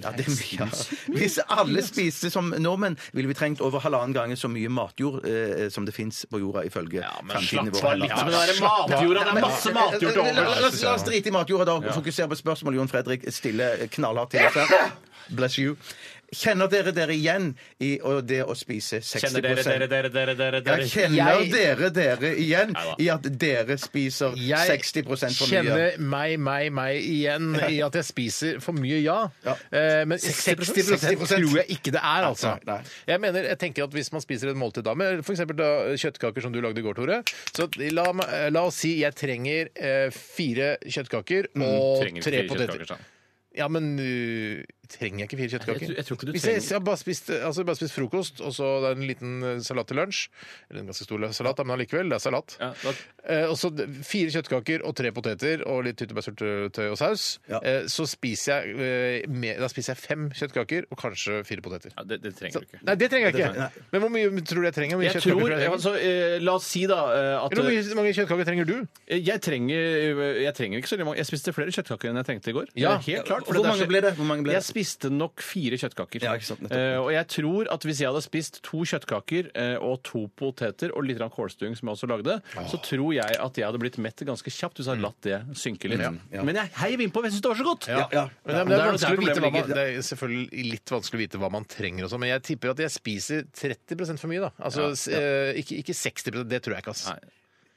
ja, det er mye. ja. Hvis alle spiste som nordmenn, ville vi trengt over halvannen gange så mye matjord eh, som det fins på jorda, ifølge fremtiden vår.
litt med det der matjorda. Det er masse matjord til
La- la- la-
overs.
La oss drite i matjorda da, og fokusere på spørsmålet Jon Fredrik stiller knallhardt til. dette. Bless you. Kjenner dere dere igjen i å- det å spise 60
Kjenner dere, dere, dere, dere, dere,
Jeg
dere.
kjenner
Jeg-
dere dere igjen
Neida.
i at dere spiser 60 for mye.
kjenner meg, meg, meg igjen i at jeg spiser for mye ja.
Ja.
Eh, Men 60,
60%
tror jeg ikke det er, altså.
nei, nei.
Jeg mener, jeg tenker at hvis man spiser et måltid da, med f.eks. kjøttkaker som du lagde i går, Tore, så la, meg- eh, la oss si jeg trenger eh, fire kjøttkaker og
Mm, Trenger
tre
fire kjøttkaker,
poteter.
sa han.
Ja, men øh, trenger jeg ikke fire kjøttkaker?
Jeg tror- jeg tror ikke du
Hvis jeg,
trenger-
jeg har bare spist, altså, jeg har bare spist frokost, og så det er en liten eh, salat til lunsj. Eller en ganske stor salat, da, men allikevel, det er salat.
Ja, da-
Eh, og så d- fire kjøttkaker og tre poteter og litt tyttebærsyltetøy og saus.
Ja.
Eh, så spiser jeg, eh, mer, da spiser jeg fem kjøttkaker og kanskje fire poteter.
Ja, det, det trenger
Så,
du ikke.
nei, det trenger jeg
Det trenger-
ikke. Men hvor mye tror du jeg trenger? Hvor mye
Jeg
kjøttkaker
tror,
jeg trenger?
altså, eh, La oss si da eh, at
Eller hvor mye- hvor mange kjøttkaker trenger du?
eh, jeg trenger, jeg trenger ikke så veldig mange. Jeg spiste flere kjøttkaker enn jeg trengte i går.
Ja.
Det er Helt klart, for
Hvor
er
mange
så-
ble det? Hvor mange ble
Jeg
det?
spiste nok fire kjøttkaker.
Ja, ikke sant, nettopp.
Eh, og jeg tror at hvis jeg hadde spist to kjøttkaker eh, og to poteter og litt grann kålstuing, som jeg også lagde, så tror jeg at jeg hadde blitt mett ganske kjapt hvis jeg hadde latt det synke litt.
Mm. ja.
Men jeg heiv innpå, for jeg syns det var så godt!
Ja, ja.
Men det, er- men det
Der-
er
der
vanskelig å vite hva
problemet
man,
ligger.
det er selvfølgelig litt vanskelig å vite hva man trenger, og sånn, men jeg tipper at jeg spiser 30 for mye. da. Altså, s- eh, Ikke, ikke 60 det tror jeg ikke. ass.
Nei.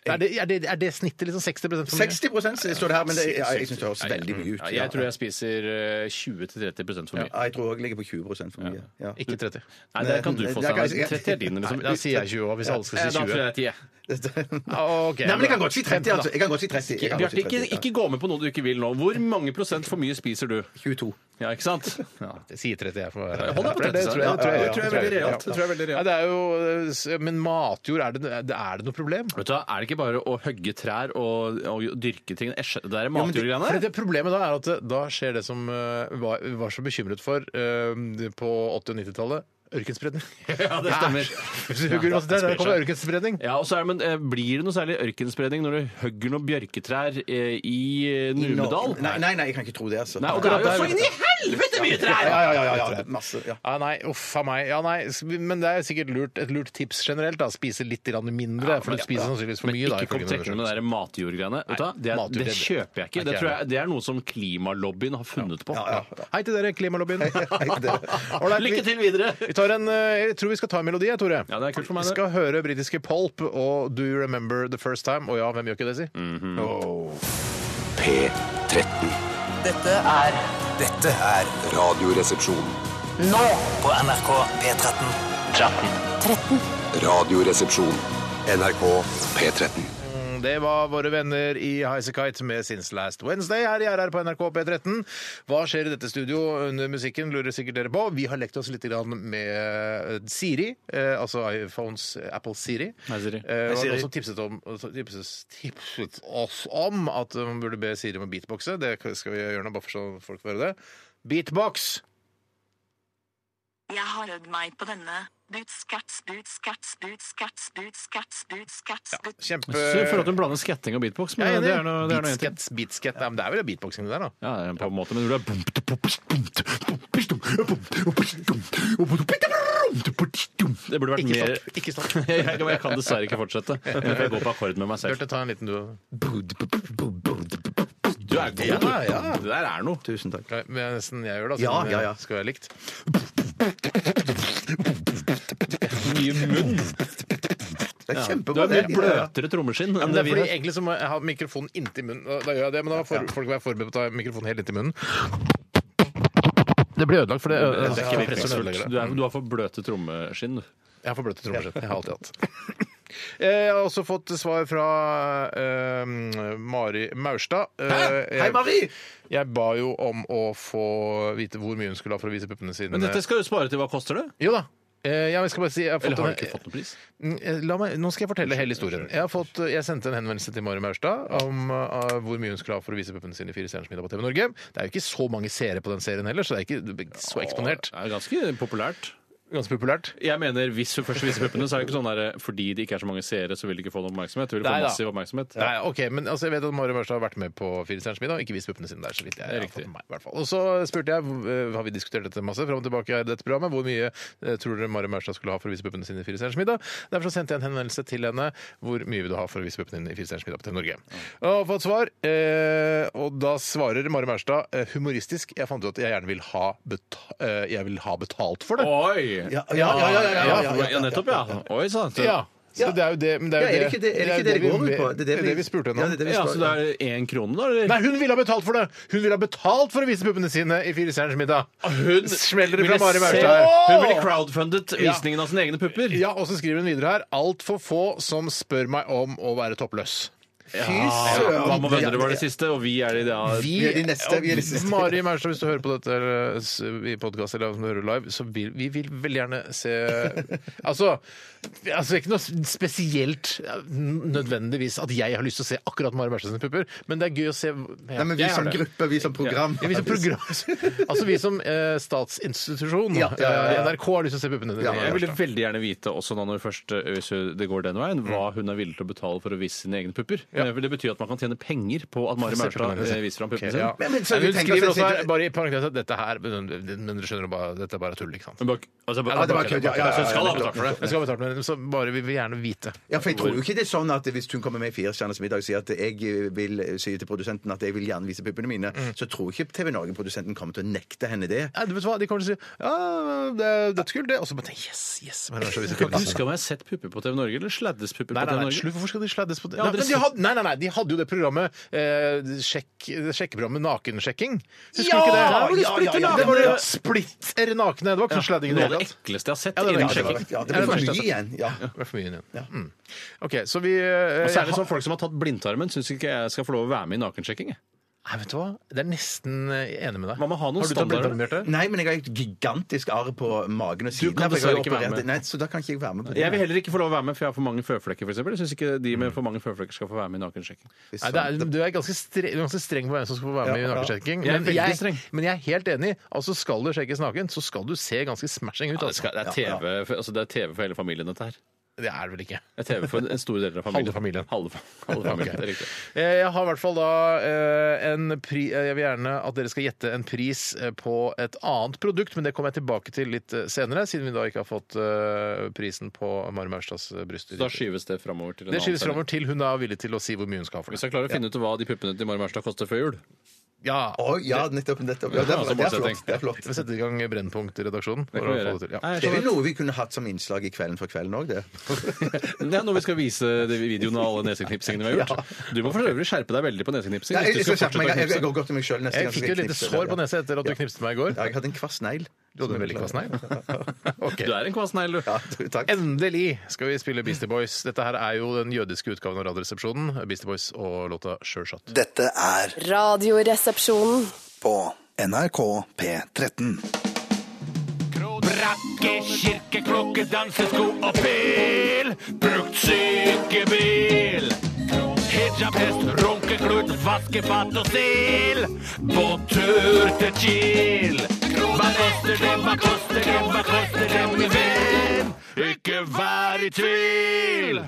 Er, det, er, det, er det snittet liksom 60 for mye?
60 står det her, men det, ja, jeg syns det høres veldig mye ut.
Ja, jeg tror jeg spiser eh, 20-30 for mye.
Ja, jeg tror òg ligger på 20 for mye. Ja.
Ikke 30.
Nei, der kan du få
Nei,
Steinar.
eh, det er kanskje-
30 er din,
Nei,
liksom.
da sier jeg 20 også, hvis alle
Eh,
skal si
da tror
20.
jeg 10.
Ah, ok,
Nei, men jeg kan
bra.
godt si 30, altså. Jeg kan godt si 30. Jeg kan godt
Bjarte,
si
ikke,
30, ja.
ikke gå med på noe du ikke vil nå. Hvor mange prosent for mye spiser du?
22.
Ja, ikke sant? Ja.
Jeg sier 30, jeg. For,
Hold deg på 30,
Det tror jeg- det tror jeg-
Det tror jeg er veldig realt. Det tror jeg er veldig
Ja,
realt.
det er jo, eh, s- men matjord, er det, er det noe problem?
Vet du hva, Er det ikke bare å hogge trær og, og dyrke ting? Jeg skjønner- Det er
Ja, men det-
matjordgreiene.
for det problemet da er at det, da skjer det som eh, var, var så bekymret for eh, på 80- og 90-tallet. Ørkenspredning.
Ja, det stemmer.
Hvis du hugger masse trær, der kommer ørkenspredning.
Ja, og så er, det- men eh, Blir det noe særlig ørkenspredning når du hogger noen bjørketrær eh, i eh, Numedal?
Nei, nei, nei, jeg kan ikke tro det, altså.
Nei, og det er jo så inn i helvete mye trær!
Ja, ja, ja, ja, ja. Masse. Ja.
Ja, nei, uff a meg. Ja, nei, s- men det er sikkert lurt, et lurt tips generelt. da, Spise litt grann mindre, for du spiser sannsynligvis for
Men
mye. da,
ikke kom
ifølge
trekkende med
undersøkelsen.
det der matjordgreiene. Vet du hva? Det,
matjord,
er- det
det-
kjøper jeg ikke. Det,
Nei,
tror jeg, det er noe som klimalobbyen har funnet på.
Ja,
Hei til dere, klimalobbyen. All right, vi-
Lykke til videre!
Vi tar en, eh, jeg tror vi skal ta en melodi, jeg, Tore.
Ja, det er kult for meg,
Vi
det.
skal høre britiske Pulp og Do You Remember The First Time. Og ja, hvem gjør ikke det, si?
Mhm.
P13.
Dette er Dette er
Radioresepsjon.
Nå på NRK P13. 13.
Radioresepsjon. NRK P13.
Det var våre venner i Highasakite med Since Last Wednesday her i RR på NRK P13. Hva skjer i dette studio under musikken, lurer sikkert dere på. Vi har lekt oss litt grann med Siri, eh, altså iPhones eh, Apple Siri.
Hei, Siri.
Eh, og
Siri.
også tipset, om, også tipses, tipset oss om at man burde be Siri om å beatboxe. Det skal vi gjøre nå, bare for så folk får høre det. Beatbox!
Jeg har øvd meg på denne. Bootskats, bootskats, bootskats, bootskats, bootskats, bootskats.
Kjempe...
Jeg føler at hun blander sketting og beatbox. Men
Eh,
eh,
Jeg er enig.
det er noe, det er noe en ting.
Beatsket, beatsket. Nei, men det er vel beatboxing det der, da.
Ja, det er på en måte, men når du er Det burde vært
Ikke
mer
stopp. Ikke stopp.
jeg, jeg, jeg kan dessverre ikke fortsette. Jeg går på akkord med meg selv.
Bjarte, ta en liten du òg.
Du er god.
Ja, ja.
Det der er noe.
Tusen takk.
Men jeg- Nesten jeg gjør det,
Ja,
siden
ja,
det
ja.
skal være likt.
Mye munn.
Det er
Du
kjempebra.
har mye bløtere trommeskinn enn
Men det er
det vi
fordi
har.
Egentlig så må jeg ha mikrofonen inntil munnen. og Da gjør jeg det, men da må for, folk være forberedt på å ta mikrofonen helt inntil munnen. Det blir ødelagt, for det, det er ikke press som ødelegger det.
Du, er, du har for bløte trommeskinn.
Jeg har for bløte trommeskjett. Jeg har alltid hatt. Eh, Jeg har også fått svar fra eh, Mari Maurstad. Eh,
Hei,
jeg-
Mari!
Jeg ba jo om å få vite hvor mye hun skulle ha for å vise puppene sine.
Men dette skal du spare til. Hva koster det?
Jo da. Eh, ja, men jeg skal bare si jeg har fått
Eller har
en-
du ikke fått noen pris?
Mm, eh, La meg, nå skal jeg fortelle hele historien. Jeg, har fått, eh, jeg sendte en henvendelse til Mari Maurstad om eh, hvor mye hun skulle ha for å vise puppene sine i Fire stjerners middag på TV Norge. Det er jo ikke så mange seere på den serien heller, så det er ikke så eksponert.
Det er ganske populært.
Ganske populært.
Jeg mener, Hvis hun først viser puppene, så er det ikke sånn der, fordi det ikke er så mange seere, så vil de ikke få noen oppmerksomhet. De vil få
Nei da.
massiv oppmerksomhet.
Nei, ok, men altså, Jeg vet at Mari Maurstad har vært med på Fire stjerners middag og ikke vist puppene sine der. så vidt jeg
Det er
har
riktig.
fått med meg, i hvert fall. Og så spurte jeg, eh, har vi diskutert dette masse fram og tilbake i dette programmet, hvor mye eh, tror dere Mari Maurstad skulle ha for å vise puppene sine i Fire stjerners middag? Derfor så sendte jeg en henvendelse til henne hvor mye vil du ha for å vise puppene dine i Fire stjerners middag på TV Norge.
Mm.
Og har fått svar, eh, og da svarer Mari Maurstad eh, humoristisk jeg fant ut at jeg gjerne vil ha, beta eh, jeg vil ha betalt for det.
Oi!
Ja, ja, ja, ja, ja, ja, ja,
Ja, nettopp, ja. Oi sann. Så-
Ja, så det er jo det men det er jo
Ja, er det ikke det- er det ikke det det går ut på?
Det er jo det vi spurte henne
Ja,
om.
det er det vi
Ja,
spør-
så det er én krone, da? Eller?
Nei, hun ville ha betalt for det! Hun ville ha betalt for å vise puppene sine i Fire stjerners middag.
Ah,
Hun smeller det fra Mari Maurstad her.
Hun ville crowdfundet visningen av sine egne pupper.
Ja, og så skriver hun videre her altfor få som spør meg om å være toppløs.
Fy
Ja,
søren.
Mamma og venner var det siste, og vi er i det
Vi,
Vi er de neste, vi er de siste.
Mari Maurstad, hvis du hører på dette eller, s- i podkast eller om du hører live, så vil vi vil veldig gjerne se Altså, altså det er ikke noe spesielt ja, nødvendigvis at jeg har lyst til å se akkurat Mari Maurstad sine pupper, men det er gøy å se
Nei, men vi
Jeg
som
har det.
gruppe, vi som program.
Ja, vi sånn som program, altså vi som eh, statsinstitusjon.
Ja, ja, ja,
eh,
ja.
NRK har lyst til å se puppene dine.
Ja,
Jeg ville veldig gjerne vite også nå når først, eh, hvis det går den veien, hva hun er villig til å betale for å vise sine egne pupper. Eh, for Det betyr at man kan tjene penger på at Mari
Se på
Maurstad
meg, se.
eh, viser fram
Ok,
puppene
ja.
sine.
Men- men så
Hun
vi tenker
skriver
oss-
også her, bare i parentes at dette her Men men dere skjønner jo bare dette er bare tull, ikke sant?
Men bak- altså,
Ja, det var
bak-
kødd, ja, ja, ja,
Så hun skal
ja,
ha betalt for det.
Jeg skal betale med det, så bare vi vil gjerne vite.
Ja, for jeg tror jo ikke det er sånn at Hvis hun kommer med i Firestjerners middag og sier at jeg vil si til produsenten at jeg vil gjerne vise puppene mine, så tror jeg ikke TV Norge-produsenten kommer til å nekte henne det.
Nei, du vet hva, De kommer til å si ja, det er dødskult, det. Og så bare tenk, yes, yes. Men det er så viser
Kan ikke
puppene.
huske om jeg har sett pupper på TV Norge, eller sladdes pupper
Nei,
på
nei,
TV
nei,
Norge.
slutt, hvorfor skal de sladdes på det?
Ja,
Nei,
dere
men de
sier-
hadde, nei, nei, nei, de hadde jo det programmet eh, sjekk, det Sjekkeprogrammet Nakenszekking. Husker
Ja!
du ikke det?
Der var de
Ja, ja,
splitter
ja, Det var det splitter nakne.
nakne.
Det var ikke noe sladding i
Noe
det
av det
hele tatt.
ekleste jeg har sett
Ja, det var
innen
det.
sjekking.
Ja, det
Ja, det
blir for
verste
mye igjen. Ja.
Det var for mye inn igjen. Mm. OK, så vi eh,
Og
jeg
særlig
har-
sånn folk som har tatt blindtarmen, syns ikke jeg skal få lov å være med i nakensjekking. jeg.
Nei, vet du hva? Det er nesten eh, enig med deg.
Man må ha noen
har du tatt
standarder.
blindtarm, Bjarte?
Nei, men jeg har et gigantisk arr på magen og siden.
kan
her, for jeg har
dessverre ikke være
operert-
med.
Nei, så da kan ikke jeg være med på det.
Jeg vil heller ikke få lov å være med, for jeg har for mange føflekker, f.eks. Jeg syns ikke de med for mange føflekker skal få være med i nakensjekking.
Nei, det er, du er ganske, stre du er ganske streng på hvem som skal få være med
Ja,
i
ja.
nakensjekking.
Jeg er
Men,
veldig
jeg-
streng.
men jeg er helt enig. Altså, Skal du sjekkes naken, så skal du se ganske smashing ut.
Ja, det,
Altså.
skal, det, er TV, for- altså det er TV for hele familien, dette her.
Det er det vel ikke.
Det er TV for en stor del av familien.
Halve familien.
Halve, fa- halve familien,
Ok.
det er riktig.
Eh, Jeg har i hvert fall da eh, en pri eh, Jeg vil gjerne at dere skal gjette en pris eh, på et annet produkt, men det kommer jeg tilbake til litt eh, senere, siden vi da ikke har fått eh, prisen på Mari Maurstads eh, bryst.
Så da skyves det framover til en
det skyves
annen
framover til hun er villig til å si hvor mye hun skal ha for
Hvis
det.
jeg klarer å finne ut hva de puppene til Mari Maurstad koster før jul
Ja,
Å ja, nettopp. nettopp. Ja, det,
Ja,
er,
som
det, er
målsetting.
flott, det er flott.
Vi setter i gang Brennpunkt-redaksjonen.
Det
for
kan
å
vi gjøre.
få det til. Ja.
Nei, jeg
Det er
skjønner.
vel noe vi kunne hatt som innslag i Kvelden for kvelden òg, det.
Det er når vi skal vise de videoene av alle neseknipsingene vi har gjort. Du må for øvrig skjerpe deg veldig på neseknipsing.
Ja,
hvis
jeg,
du
jeg, skal skjerpe meg.
fortsette å
jeg, jeg
knipse.
går godt til meg sjøl neste
Jeg
gang.
fikk jo et lite sår på
nesa.
nesa etter at du knipset meg i går.
Ja, jeg hadde en kvass negl.
Du hadde en veldig kvass negl.
Du er en kvassnegl, du.
Ja, takk.
Endelig skal vi spille Beastie Boys. Dette her er jo den jødiske utgaven av Radioresepsjonen. Beastie Boys og låta 'Sure-Shot'.
Dette er
Radioresepsjonen.
på NRK P13.
Brakke, kirke, klokke, dansesko og pil. Brukt sykebil. Hijab, hest, runkeklut, vaskefat og stil. På tur til Kiel. Hva koster det, hva koster det, hva koster det, min venn? Ikke vær i tvil.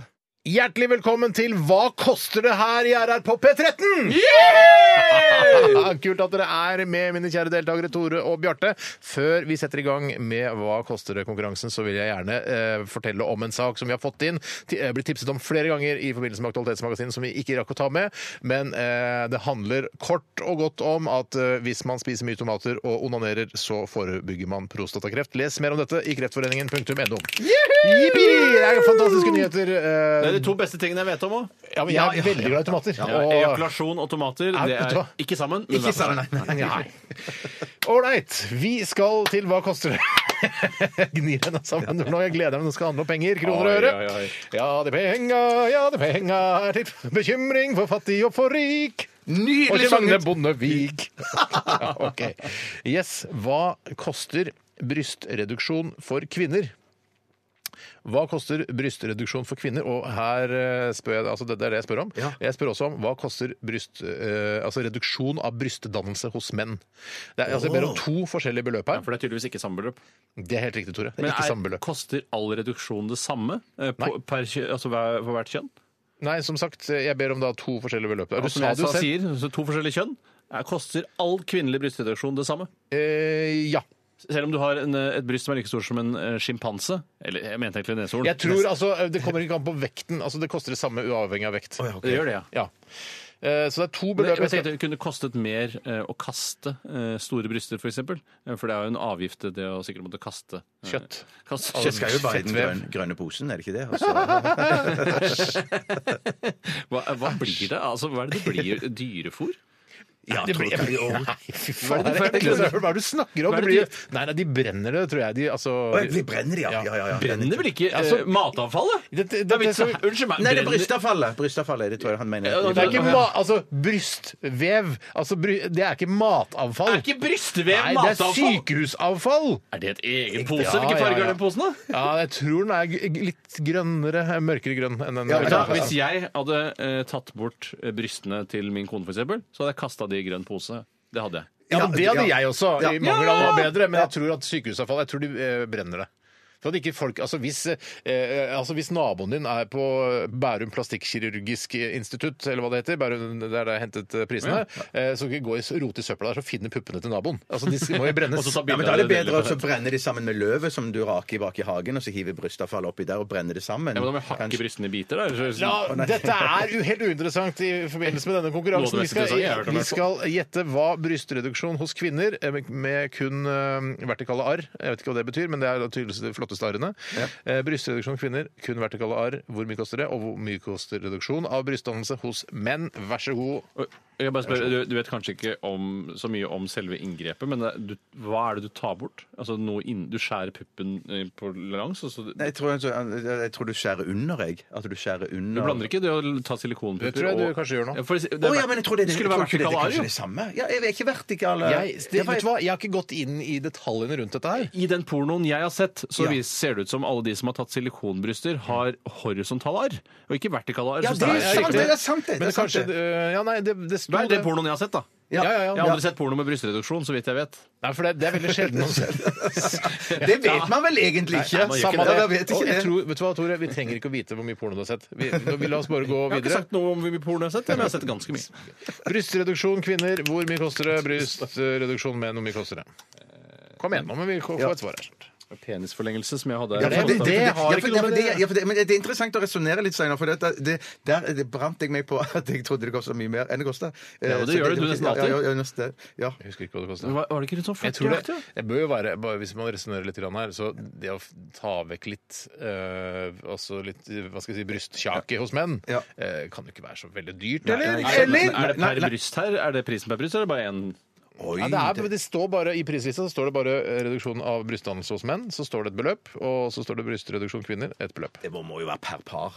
Hjertelig velkommen til Hva koster det her i RR på P13? Kult at dere er med, mine kjære deltakere Tore og Bjarte. Før vi setter i gang med Hva koster det-konkurransen, så vil jeg gjerne eh, fortelle om en sak som vi har fått inn. Ti- eh, blitt tipset om flere ganger i forbindelse med Aktualitetsmagasinet, som vi ikke rakk å ta med. Men eh, det handler kort og godt om at eh, hvis man spiser mye tomater og onanerer, så forebygger man prostatakreft. Les mer om dette i kreftforeningen.no. Jippi! Det er jo fantastiske nyheter. eh,
Det er de to beste tingene jeg vet om òg.
ja, men jeg er veldig glad i tomater. og...
Ejakulasjon og tomater.
Ja,
Det
vet du
er
hva?
ikke sammen. men
Ikke sa nei. nei.
Nei. Ålreit. Vi skal til Hva koster det? Jeg gnir henne sammen nå. Jeg gleder meg. Det skal handle om penger, kroner og
Oi,
øre.
oi, oi.
Ja, det er penga, ja, det er penga er til bekymring for fattig og for rik. Og
Nydelig
til
sunget!
Magne Bondevik. Ja, OK. Yes. Hva koster brystreduksjon for kvinner? Hva koster brystreduksjon for kvinner? Og her eh, spør jeg, altså det, det er det jeg spør om.
Ja.
Jeg spør også om hva koster bryst, eh, altså reduksjon av brystdannelse hos menn. Det er, altså, jeg ber om to forskjellige beløp her.
For det er tydeligvis ikke samme beløp.
Det er helt riktig, Tore. Det er
Men
ikke
er-
samme beløp.
koster all reduksjon det samme eh, på,
Nei.
per, kjø- altså hver, for hvert kjønn?
Nei, som sagt, jeg ber om da to forskjellige beløp. Du
Og som
sa
jeg
det jo
sa,
selv.
sier, så to forskjellige kjønn. Er, koster all kvinnelig brystreduksjon det samme?
Eh, ja.
Selv om du har en, eh, et bryst som er like stort som en eh, sjimpanse? Eller jeg mente egentlig neshorn.
Jeg tror altså, Det kommer ikke an på vekten. altså Det koster det samme uavhengig av vekt.
Det gjør det, ja.
Ja. Eh, Så det er to
Men
beløp.
jeg tenkte Det kunne kostet mer eh, å kaste eh, store bryster, f.eks. For, eksempel. Eh, for det er jo en avgift til det å sikkert måtte kaste eh,
Kjøtt.
Kaste
Det skal jo bare i den
Fettvev.
grønne, grønne posen, er det Altså- ikke det? Og så-
Hva, hva blir det? Altså, hva er det det blir? Dyrefôr?
Ja, det blir, nei, fy faen.
Hva
Hva
er det
er det
de
hva er det du snakker om?
Hva
Det
er
blir,
det
nei, nei, de brenner det, tror jeg. De, altså,
Å, Vi brenner det, ja. ja, ja, ja.
Brenner vel ikke eh,
Altså,
matavfallet?
det- det-
Det er
det-
vitsen. Unnskyld meg.
Nei, det er
brenner-
brystavfallet. Brystavfallet er det, tror jeg han mener.
Ja,
det er ikke ma altså, brystvev. Altså, bry det er ikke matavfall.
Er ikke brystvev
Nei, det er
matavfall?
sykehusavfall!
Er det et egen pose?
Ja,
Hvilke
ja,
farger
ja.
er den posen, da?
Ja, jeg tror den er g- litt grønnere, mørkere grønn enn den.
Vet du hva? Hvis jeg hadde eh, tatt bort eh, brystene til min kone, for eksempel, så hadde jeg kasta de i grønn pose. Det hadde jeg.
Ja, men Det hadde
Ja.
jeg også.
Ja.
I mangel av noe bedre. Men jeg tror at sykehusavfall Jeg tror de eh, brenner det. For at ikke folk, altså hvis, eh, altså hvis naboen din er på Bærum plastikkirurgisk institutt, eller hva det heter, Bærum, der det er hentet eh, prisene, eh, så kan vi gå og rote i søpla der, så finner puppene til naboen. Altså De må jo
Og
brennes.
så ta
Ja, men
bilde
Da
av
er det
det.
bedre å brenne de sammen med løvet som du raker bak i hagen, og så hiver brustavfallet oppi der og brenner det sammen.
Ja, men da må jeg hakke
Kanskje-
brystene i biter, da. eller så-
Ja, dette er jo helt uinteressant i forbindelse med denne konkurransen.
Noe av
Vi
det mest
skal,
interessante jeg har hørt om
vi
i hvert
skal gjette hva brystreduksjon hos kvinner eh, med- med kun eh, vertikale arr Jeg vet ikke hva det betyr, men det er da tydeligvis de flotteste arrene. Eh, Brystreduksjon hos kvinner, kun vertikale arr. Hvor mye koster det? Og hvor mye koster reduksjon av brystdannelse hos menn? Vær så god.
Og Jeg bare spør, du, du vet kanskje ikke om, så mye om selve inngrepet, men det, du, hva er det du tar bort? Altså, noe inn, du skjærer puppen eh, på langs, og så
Nei, Jeg tror, jeg tror du skjærer under, jeg. At du skjærer
Du
under.
blander ikke det å ta silikonpupper
Det tror jeg du
og-
kanskje gjør nå.
Ja, for det- det
Å
er-
ja, men jeg tror det, er-
skulle
jeg
være
tror ikke det, det er
vertikalarie.
kanskje det samme. Ja, jeg er ikke vertikal. eh.
Jeg, Eh, det,
Ja, for-
vet du hva? jeg har ikke gått inn i detaljene rundt dette her.
I den pornoen jeg har sett, så
Ja.
vis- ser det ut som alle de som har tatt silikonbryster, har horisontale arr, og ikke vertikale arr.
Ja,
Så
det er
sterkt.
sant,
riktig.
det er sant,
Men
det. det er sant,
kanskje
det.
eh, Ja, nei, det, det sto
Det er den pornoen jeg har sett, da.
Ja, ja, ja.
Jeg har aldri sett porno med brystreduksjon, så vidt jeg vet.
Nei, for det, det er veldig sjelden å se.
Det vet man vel egentlig ikke.
Nei, samme
Ja,
det.
jeg vet
Og
ikke
jeg
det.
tror, vet du hva, Tore? Vi trenger ikke å vite hvor mye porno du har sett. Vi, nå, vi la oss bare gå
Jeg har ikke
videre.
sagt noe om hvor mye porno jeg har sett, men jeg har sett ganske mye.
Brystreduksjon kvinner, hvor mye koster det? Brystreduksjon menn, hvor mye koster det? Kom igjen, nå må vi få få et svar her.
Penisforlengelse som jeg hadde.
Ja, det- det-
Ja, for
har ikke noe med det-
ja, for det, men det er interessant å resonnere litt senere, for det, det, der det brant jeg meg på at jeg trodde det kostet mye mer enn det kosta.
Ja, og det gjør det, du nesten alltid.
Ja, ja, ja, nesten, ja.
Jeg husker ikke hva det koster.
var, var det ikke rundt sånn
Jeg tror
40
det, det bør jo være, bare Hvis man resonnerer litt grann her, så det å f- ta vekk litt eh, altså litt eh, hva skal jeg si, brystkjake hos menn,
Ja.
eh, kan jo ikke være så veldig dyrt,
Nei, nei,
eller?
nei,
eller?
Er det per bryst her? Er det prisen per bryst, eller bare én?
Oi,
Ja, det, er, det står bare I prislista så står det bare eh, reduksjon av brystdannelse hos menn. Så står det et beløp, og så står det brystreduksjon kvinner. Et beløp.
det må- må jo være per par.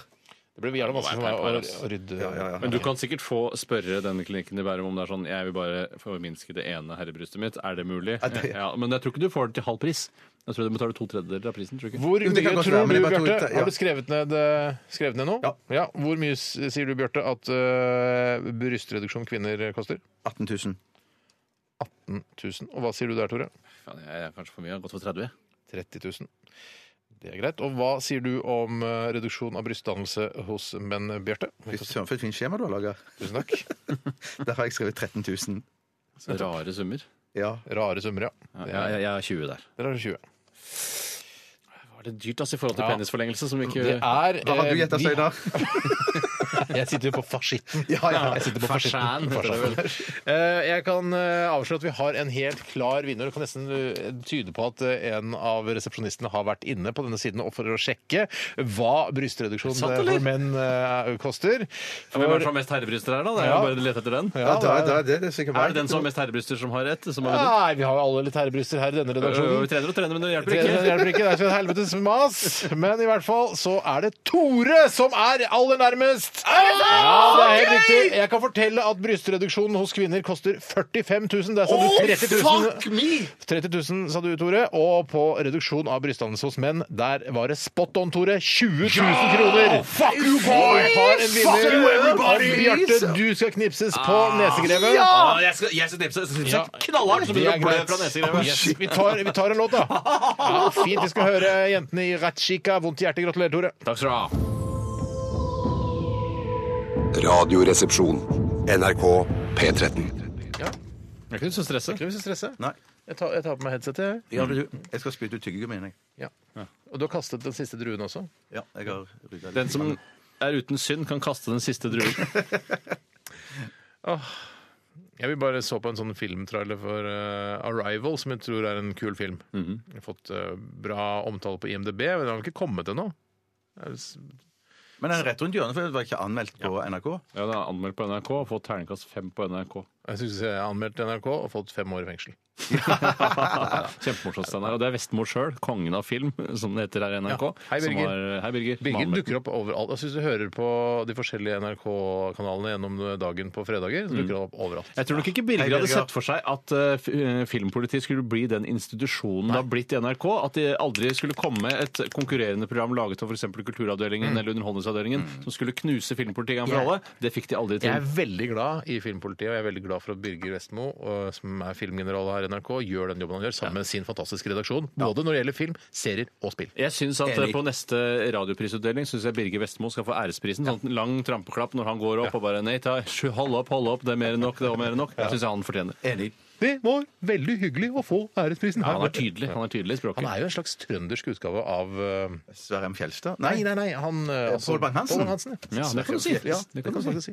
Det blir jævla vanskelig for
Nei, nei,
meg
nei,
å, å rydde
Ja, ja, ja.
Men du kan sikkert få spørre denne klinikken i Bærum om det er sånn Jeg vil bare forminske det ene herrebrystet mitt. Er det mulig?
Ja, det-
Ja, men jeg tror ikke du får det til halv pris. Jeg tror du betaler to tredjedeler av prisen. tror du ikke?
Hvor
Jo,
mye
det kan godt være,
tror du,
men det var to
Bjarte?
ute, ja.
Har du skrevet ned, eh, skrevet ned noe?
Ja.
Hvor mye s- sier du, Bjarte, at eh, brystreduksjon kvinner koster?
18 000.
18 000. Og hva sier du der, Tore?
Faen, jeg er kanskje for mye. Jeg har gått for 30.
30 000. Det er greit. Og hva sier du om eh, reduksjon av brystdannelse hos menn, Bjarte?
Fy søren, for et fint skjema du har laga.
Tusen takk.
Der har jeg skrevet 13 000.
Så Rare summer.
Ja.
Rare summer, ja.
Ja, jeg, jeg er 20 der.
Der har du 20.
Var det dyrt altså, i forhold til
Ja.
penisforlengelse? som ikke...
Det er
Hva har du gjetta,
eh, vi-
Steinar?
Jeg sitter jo på farsitten.
Ja, ja.
Jeg sitter på
Farsan,
farsitten.
heter det vel.
Farsan. Eh, Jeg kan eh, avsløre at vi har en helt klar vinner. Det kan nesten eh, tyde på at eh, en av resepsjonistene har vært inne på denne siden og for å sjekke hva brystreduksjon
Sant,
eh,
eller?
for menn eh, koster.
Hvem er det som har mest herrebryster her, da? Det er
Ja.
jo bare å lete etter den.
Ja, da, da, det, det er sikkert
Er det den som har mest herrebryster, som har rett? Som har
eh, Nei, vi har jo alle litt herrebryster her i denne
Øh, vi
redaksjonen.
trener og trener, men det hjelper
Det
ikke.
hjelper ikke. Det er så et helvetes mas. Men i hvert fall så er det Tore som er aller nærmest. Ja, det er helt riktig. Jeg kan fortelle at brystreduksjonen hos kvinner koster 45 000. Der sa du 30
fuck
000.
me!
30 000, sa du, Tore. Og på reduksjon av brystdannelse hos menn, der var det spot on, Tore. 20 000 kroner!
fuck you, boy!
Vi har en vinner.
Fuck you, everybody! Ah.
Og Bjarte, du skal knipses på nesegreven.
Ja! Ah, Jeg skal, jeg skal tipse. Jeg skal tipse
Ja.
knallhardt som
Det
blir
er
blø
greit.
fra nesegreven.
Yes. Vi, tar, vi tar en låt, da. Ja, fint. Vi skal høre jentene i Ratchika. Vondt i hjertet. Gratulerer, Tore.
Takk skal du ha.
Radioresepsjon. NRK P13.
Jeg er ikke så stresset.
Ikke noe vi skal stresse.
Nei.
Jeg tar, jeg tar på meg headsetet. jeg.
Ja, men du, jeg skal spytte ut tyggegummien, jeg.
Ja. Og du har kastet den siste druen også.
Ja, jeg har rydda litt.
Den som er uten synd, kan kaste den siste druen.
Jeg vil bare så på en sånn filmtrailer for eh, Arrival, som jeg tror er en kul film. Jeg har fått eh, bra omtale på IMDb, men den har vel ikke kommet ennå. Det er s-
Men den er rett rundt hjørnet, for den var ikke anmeldt på NRK.
Ja, den er anmeldt på NRK og fått terningkast fem på NRK.
Jeg syns jeg har anmeldt til NRK og fått fem år i fengsel.
Kjempemorsomt, Steinar. Og det er Vestmo sjøl, kongen av film, som det heter her i NRK.
Ja. Hei,
som
Birger.
har- hei, Birger.
Birger
Malmö.
dukker opp overalt. Jeg syns du hører på de forskjellige NRK-kanalene gjennom dagen på fredager. Så dukker han opp overalt.
Jeg tror nok ikke Birger hadde sett for seg at eh, f- eh, filmpolitiet skulle bli den institusjonen det har blitt i NRK. At det aldri skulle komme et konkurrerende program laget av f.eks. Kulturavdelingen eller Underholdningsavdelingen som skulle knuse filmpolitiet en gang for alle. Det fikk de aldri
Jeg er
til.
veldig glad i filmpolitiet, og jeg er veldig glad for at Birger Vestmo, og- som er filmgeneral her i NRK, gjør den jobben han gjør, sammen med sin fantastiske redaksjon. Både når det gjelder film, serier og spill.
Jeg synes at eh, På neste radioprisutdeling synes jeg Birger Vestmo skal få æresprisen. Sånn lang trampeklapp når han går opp og bare Nei, ta, sju, hold opp, hold opp, det er mer enn nok, det var mer enn nok. Det syns jeg han fortjener.
Enig.
Det var veldig hyggelig å få æresprisen
Ja, han er tydelig han er tydelig i
Han
språket.
er jo en slags trøndersk utgave av eh,
Sverre M. Fjelstad?
Nei, nei, nei. Han, eh, altså,
Pål
Pål
Bang-Hansen?
Bang-Hansen,
Ja, det kan du si.
Ja, det kan du faktisk si.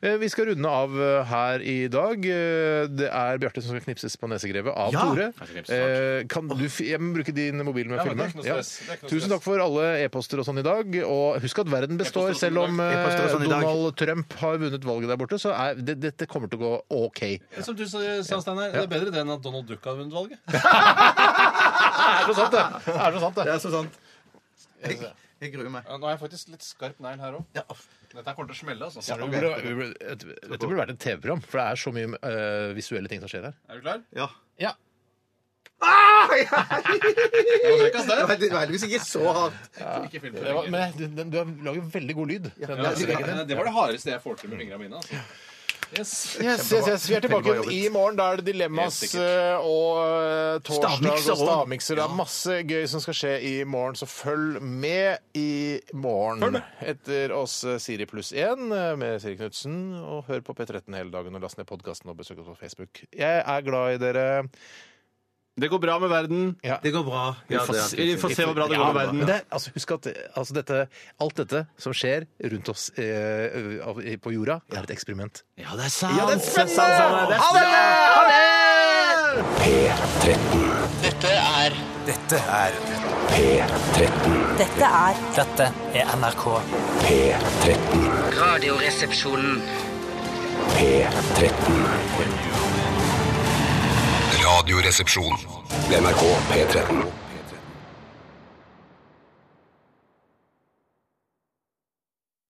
Eh, Vi skal runde av eh, her i dag. Eh, Det er Bjarte som skal knipses på nesegrevet av
Ja!
Tore.
skal knipses,
Eh, Kan du fi- jeg må bruke din mobil med å
Ja, men
filme?
det er ikke noe stress. Det er ikke noe
Tusen
stress.
takk for alle e-poster og sånn i dag. Og husk at verden består,
E-poster
selv
og sånn i
om
dag.
eh,
E-poster og sånn i dag.
Donald Trump har vunnet valget der borte, så er det, dette kommer til å gå OK.
Som du sa, Steinar, det er bedre det enn at Donald Duck har vunnet valget.
Er det sant, det? Er det sant, det?
Det er så sant. Jeg, jeg gruer meg.
Ja, nå er jeg faktisk litt skarp negl her òg. Dette her kommer til å smelle. altså.
Vi burde- vi burde- Dette burde vært et TV-program, for det er så mye eh, visuelle ting som skjer her.
Er du klar?
Ja.
Ja.
Nå trekker jeg
Det
av
var det var heldigvis ikke så hardt.
sted. Ikke film for
Det var,
lenge.
men den, den, du lager veldig god lyd. Den
Ja, det,
neseveggen din.
Eh, det var det hardeste jeg får til med fingrene mine. altså. Yes.
Yes, yes, yes. Vi er tilbake igjen i morgen. Da er det Dilemmas
Helt
eh, og eh, torsdag og
Stavmikser også.
stavmikser. Det er masse gøy som skal skje i morgen, så følg med i morgen. Etter oss eh, Siri pluss 1 med Siri Knutsen, og hør på P13 hele dagen og last ned podkasten og besøk oss på Facebook. Jeg er glad i dere.
Det går bra med verden.
Ja.
Det går bra. Ja,
Vi får
det er
se- vi får
fint.
se hvor bra det
Ja,
går med verden.
men det, altså, husk at eh, altså, dette, alt dette som skjer rundt oss eh, av- på jorda, er et eksperiment.
Ja, det er sant!
det er
Det sant, Steinar. Det er sant.
Dette er
Dette er NRK.
Radioresepsjonen.
Radioresepsjon. NRK P13.